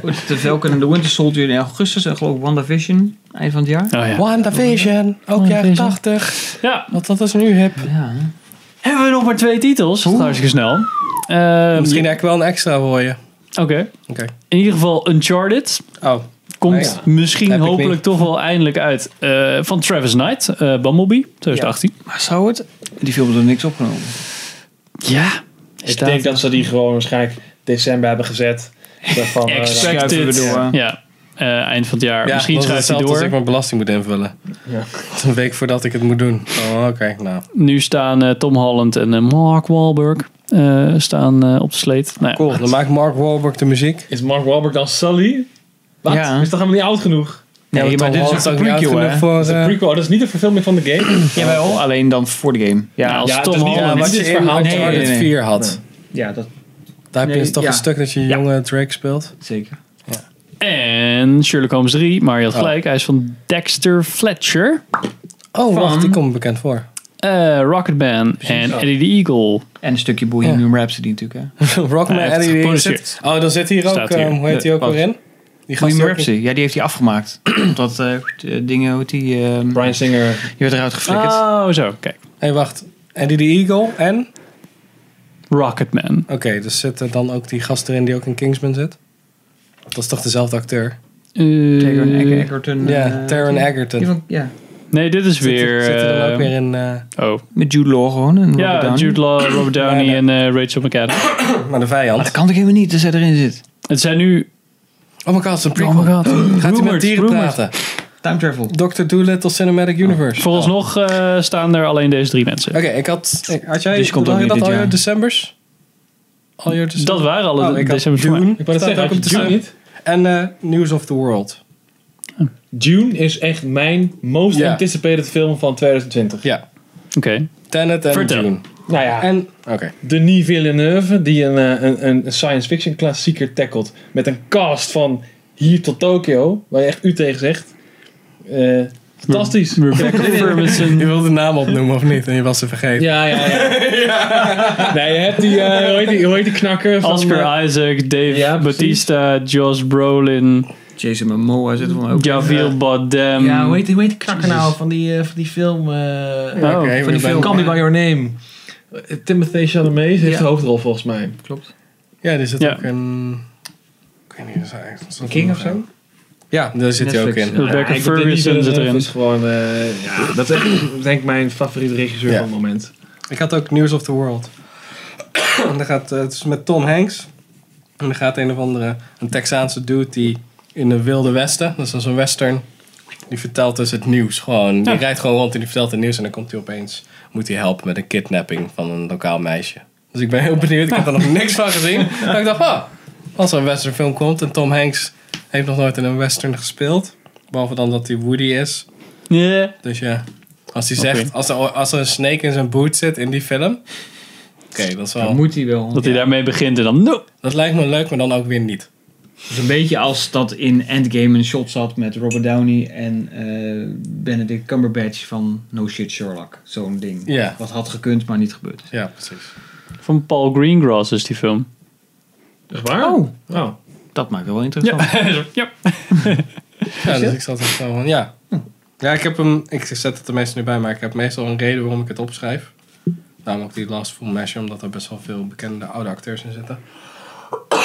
Speaker 3: Goed, De Falcon en de Winter Soldier in augustus en geloof ik WandaVision eind van het jaar.
Speaker 1: Oh, ja.
Speaker 2: WandaVision, ook jaren 80.
Speaker 1: ja.
Speaker 2: Wat dat is nu hip.
Speaker 3: Ja.
Speaker 1: Hebben we nog maar twee titels? Dat gaat hartstikke snel. Ehm,
Speaker 2: Eh, Misschien heb ik wel een extra voor je.
Speaker 1: Oké.
Speaker 2: Oké.
Speaker 1: In ieder geval Uncharted.
Speaker 2: Oh,
Speaker 1: Komt
Speaker 2: Ah,
Speaker 1: misschien
Speaker 2: Heb ik
Speaker 1: hopelijk
Speaker 2: niet.
Speaker 1: toch wel eindelijk uit. eh, van Travis Knight, eh Bumblebee, 2018.
Speaker 3: Maar zou het? Die film heeft er niks opgenomen.
Speaker 1: Ja.
Speaker 4: Ik denk dat ze die gewoon waarschijnlijk december hebben gezet. Daarvan, eh,
Speaker 3: schuiven we
Speaker 1: Expected.
Speaker 3: door.
Speaker 1: Ja. Eh, eind van het jaar.
Speaker 2: ja,
Speaker 1: misschien
Speaker 2: dat is
Speaker 1: schuift hij
Speaker 2: hetzelfde als ik
Speaker 1: door.
Speaker 2: mijn belasting moet invullen.
Speaker 4: Ja.
Speaker 2: Dat is Een week voordat ik het moet doen. Oh, oké. Nou,
Speaker 1: Nu staan eh, Tom Holland en eh, Mark Wahlberg eh, staan eh, op de sleet. Nou, ja.
Speaker 2: cool. Dan maakt Mark Wahlberg de muziek.
Speaker 4: Is Mark Wahlberg dan Sully? Wat?
Speaker 3: Ja.
Speaker 4: Is toch helemaal niet oud genoeg?
Speaker 3: Nee,
Speaker 2: Ja,
Speaker 3: maar dit is
Speaker 2: Tom
Speaker 3: een
Speaker 2: Holland niet
Speaker 3: prequel
Speaker 2: oud
Speaker 3: hè?
Speaker 2: genoeg Voor,
Speaker 4: Dat is een
Speaker 2: eh,
Speaker 4: prequel. Dat is niet een verfilming van de game.
Speaker 3: Jawel, alleen dan voor de game.
Speaker 1: Ja, als
Speaker 4: het
Speaker 1: Tom
Speaker 4: is niet-
Speaker 1: Holland.
Speaker 4: dit
Speaker 2: wat
Speaker 4: is
Speaker 2: je
Speaker 4: het
Speaker 2: in
Speaker 4: verhaal.
Speaker 3: Nee, nee,
Speaker 2: Uncharted
Speaker 3: nee.
Speaker 2: 4 had.
Speaker 4: Ja, dat,
Speaker 2: Daar heb je
Speaker 3: Nee,
Speaker 2: dus toch
Speaker 3: ja.
Speaker 2: een stuk dat je jonge Drake speelt.
Speaker 3: Zeker.
Speaker 1: En Sherlock Holmes 3, maar je had
Speaker 2: Oh.
Speaker 1: gelijk. Hij is van Dexter Fletcher,
Speaker 2: Oh,
Speaker 3: Van-
Speaker 2: wacht. Die komt bekend voor.
Speaker 1: eh, Rocketman en
Speaker 2: Oh.
Speaker 1: Eddie the Eagle.
Speaker 3: En een stukje Bohemian Rhapsody natuurlijk hè.
Speaker 2: Rockman
Speaker 1: Hij heeft
Speaker 2: Eddie. die
Speaker 1: geproduceerd.
Speaker 2: zit- Oh, dan zit hier
Speaker 1: Staat
Speaker 2: ook...
Speaker 1: hier.
Speaker 2: ehm, hoe heet die ook
Speaker 3: Wat?
Speaker 2: weer in? Die gast die
Speaker 3: Bohemian
Speaker 2: ook-
Speaker 3: Rhapsody, ja die heeft hij afgemaakt. Omdat eh, eh, dingen, hoe heet die, eh,
Speaker 4: Brian Singer.
Speaker 3: die werd eruit geflikkerd.
Speaker 1: Oh, zo, kijk.
Speaker 2: Hé, wacht. Eddie the Eagle en...
Speaker 1: Rocketman.
Speaker 2: Oké, dus zit er dan ook die gast erin die ook in Kingsman zit? Dat is toch dezelfde acteur?
Speaker 1: Eh,
Speaker 3: Taron Eger- Egerton.
Speaker 2: ja,
Speaker 3: eh,
Speaker 2: Taron Egerton.
Speaker 3: die van- Ja,
Speaker 1: nee, dit is
Speaker 2: Zit er-
Speaker 1: weer...
Speaker 2: Zit er dan ook
Speaker 1: eh,
Speaker 2: weer in... eh,
Speaker 1: Oh.
Speaker 3: met Jude Law gewoon. En Robert
Speaker 1: Ja,
Speaker 3: Downey.
Speaker 1: Jude Law, Robert Downey
Speaker 2: Nee,
Speaker 1: en eh, Rachel McAdams.
Speaker 2: maar de
Speaker 3: Maar
Speaker 2: vijand.
Speaker 3: dat kan toch helemaal niet, dat zij erin zit.
Speaker 1: Het zijn nu...
Speaker 2: Oh my god, het is een prequel.
Speaker 1: Oh my god.
Speaker 2: Gaat hij
Speaker 1: Rumored,
Speaker 2: met dieren
Speaker 1: rumored.
Speaker 2: praten?
Speaker 3: Time travel.
Speaker 2: Dr. Doolittle
Speaker 1: Oh.
Speaker 2: Cinematic Universe.
Speaker 1: Vooralsnog eh, staan er alleen deze drie mensen.
Speaker 2: Oké, ik had... ik- Had jij
Speaker 3: Dus je komt
Speaker 2: had
Speaker 3: ook
Speaker 2: je
Speaker 3: niet
Speaker 2: dat al
Speaker 3: dit jaar.
Speaker 2: je decembers? Al je decembers?
Speaker 1: Dat waren alle
Speaker 2: Oh, ik had
Speaker 1: december voor
Speaker 2: Dune.
Speaker 1: mij.
Speaker 4: Ik wou dat
Speaker 2: Staat
Speaker 4: zeggen,
Speaker 2: ook op
Speaker 4: had je Dune
Speaker 2: de-
Speaker 4: niet?
Speaker 2: En eh, News of the World.
Speaker 4: Dune is echt mijn most
Speaker 2: Ja.
Speaker 4: anticipated film van 2020.
Speaker 2: Ja.
Speaker 1: Oké.
Speaker 2: Tenet en
Speaker 1: Vertel.
Speaker 2: Dune.
Speaker 4: Nou ja,
Speaker 2: En... Oké.
Speaker 4: Denis Villeneuve die een, eh, een, een science fiction klassieker tackelt. Met een cast van hier tot Tokio, waar je echt u tegen zegt. Eh, fantastisch.
Speaker 1: Rebecca Ferguson.
Speaker 2: Je wilde de naam opnoemen of niet? En je was ze vergeten.
Speaker 4: Ja, ja, ja. Nee, je hebt die, eh, hoe, heet die, hoe heet die knakker? Van, eh,
Speaker 1: Oscar Isaac, Dave
Speaker 4: Ja, precies.
Speaker 1: Batista, Josh Brolin,
Speaker 3: Jason Momoa zit er
Speaker 2: Oh,
Speaker 3: van ook.
Speaker 1: Javier Bardem.
Speaker 3: Ja, hoe heet, hoe heet die knakker nou van die, eh, van die film? eh
Speaker 1: Oh,
Speaker 2: Oké,
Speaker 3: van die
Speaker 2: we
Speaker 3: film.
Speaker 2: zijn-
Speaker 4: Call Me By Your Name. Eh, Timothée Chalamet heeft
Speaker 3: Ja.
Speaker 4: de hoofdrol volgens mij.
Speaker 3: Klopt.
Speaker 2: Ja, er zit
Speaker 1: Ja.
Speaker 2: ook een... Ik weet niet, dat is eigenlijk... Een
Speaker 4: King of zo?
Speaker 2: Ja, daar zit hij ook
Speaker 3: Netflix.
Speaker 2: in.
Speaker 1: Rebecca
Speaker 4: ik- Denis
Speaker 1: Ferguson zit
Speaker 4: Villeneuve
Speaker 2: dus-
Speaker 1: erin.
Speaker 4: is gewoon, eh, ja, dat is echt, denk ik, mijn favoriete regisseur
Speaker 2: Ja.
Speaker 4: van het moment.
Speaker 2: Ik had ook News of the World. en daar gaat, eh, het is met Tom Hanks. En er gaat een of andere, een Texaanse dude die in de Wilde Westen, dat is dan zo'n western, die vertelt dus het nieuws gewoon. Die rijdt gewoon rond en die vertelt het nieuws en dan komt hij opeens, moet hij helpen met een kidnapping van een lokaal meisje. Dus ik ben heel benieuwd, ik heb er nog niks van gezien. Maar ik dacht, ah, als er een western film komt en Tom Hanks heeft nog nooit in een western gespeeld, behalve dan dat hij Woody is,
Speaker 1: Ja.
Speaker 2: dus ja, als hij zegt, als, er, als er een snake in zijn boot zit in die film. Oké, dat is wel.
Speaker 3: Dan moet hij wel.
Speaker 1: Dat hij daarmee begint en dan... No.
Speaker 2: Dat lijkt me leuk, maar dan ook weer niet.
Speaker 3: Het is Dus een beetje als dat in Endgame een shot zat met Robert Downey en eh, Benedict Cumberbatch van No Shit Sherlock. Zo'n ding.
Speaker 2: Ja.
Speaker 3: Wat had gekund, maar niet gebeurd. is.
Speaker 2: Ja, precies.
Speaker 1: Van Paul Greengrass is die film.
Speaker 4: Echt waar? Oh.
Speaker 3: Dat maakt het wel interessant.
Speaker 1: Ja. ja.
Speaker 2: Ja, dus ik zat echt zo van, ja. Ja, ik heb hem, ik zet het er meestal nu bij, maar ik heb meestal een reden waarom ik het opschrijf. Namelijk die Last Full Measure, omdat er best wel veel bekende oude acteurs in zitten.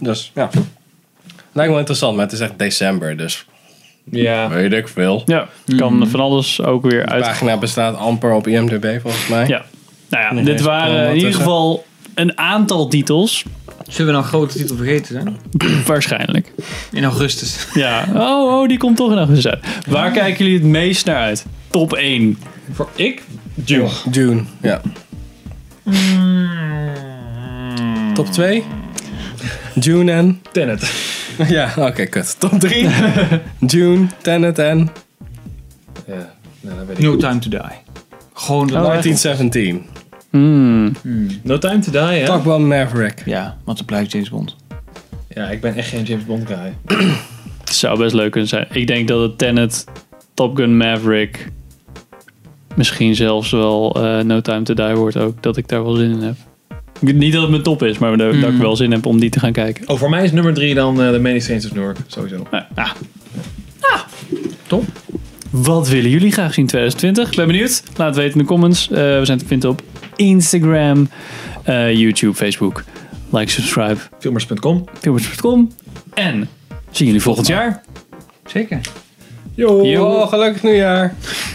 Speaker 2: Dus, ja. Lijkt wel interessant, maar het is echt december, dus
Speaker 4: Ja.
Speaker 2: weet ik veel.
Speaker 1: Ja, kan van alles ook weer
Speaker 2: De
Speaker 1: uit.
Speaker 2: pagina bestaat amper op IMDb, volgens mij.
Speaker 1: Ja. Nou ja,
Speaker 2: Nee,
Speaker 1: dit
Speaker 2: deze kan
Speaker 1: waren
Speaker 2: wel
Speaker 1: in ieder
Speaker 2: tussen.
Speaker 1: geval een aantal titels.
Speaker 3: Zullen we nou een grote titel vergeten zijn?
Speaker 1: Waarschijnlijk.
Speaker 3: In augustus.
Speaker 1: Ja. Oh, oh, die komt toch nog eens uit. Waar kijken jullie het meest naar uit? Top 1.
Speaker 4: Voor ik? Duw.
Speaker 2: June, ja. Top 2? June en...
Speaker 4: Hmm. Tenet.
Speaker 2: Ja, oké, kut. Top 3? June, Tenet en...
Speaker 4: Ja. Nou, dat weet ik.
Speaker 3: No Time to Die. Gewoon de
Speaker 1: Oh, echt?
Speaker 2: 1917.
Speaker 1: Hmm.
Speaker 4: No Time to Die, hè?
Speaker 2: Talk about Maverick.
Speaker 3: Ja, want het blijft James Bond.
Speaker 4: Ja, ik ben echt geen James Bond guy.
Speaker 1: Het zou best leuk kunnen zijn. Ik denk dat het Tenet, Top Gun Maverick, misschien zelfs wel eh, No Time to Die wordt ook. Dat ik daar wel zin in heb. Ik- Niet dat het mijn top is, maar dat, dat ik wel zin heb om die te gaan kijken.
Speaker 4: Oh, voor mij is nummer drie dan eh The Many Saints of Newark. Sowieso.
Speaker 1: Ah. Wat willen jullie graag zien 2020? Ik ben benieuwd. Laat het weten in de comments. Eh, we zijn te vinden op Instagram, eh, YouTube, Facebook. Like, subscribe,
Speaker 4: Filmers.com.
Speaker 1: filmpjes.com. En zien jullie volgend jaar.
Speaker 3: Zeker.
Speaker 4: Yo.
Speaker 1: Yo.
Speaker 2: Oh, gelukkig nieuwjaar.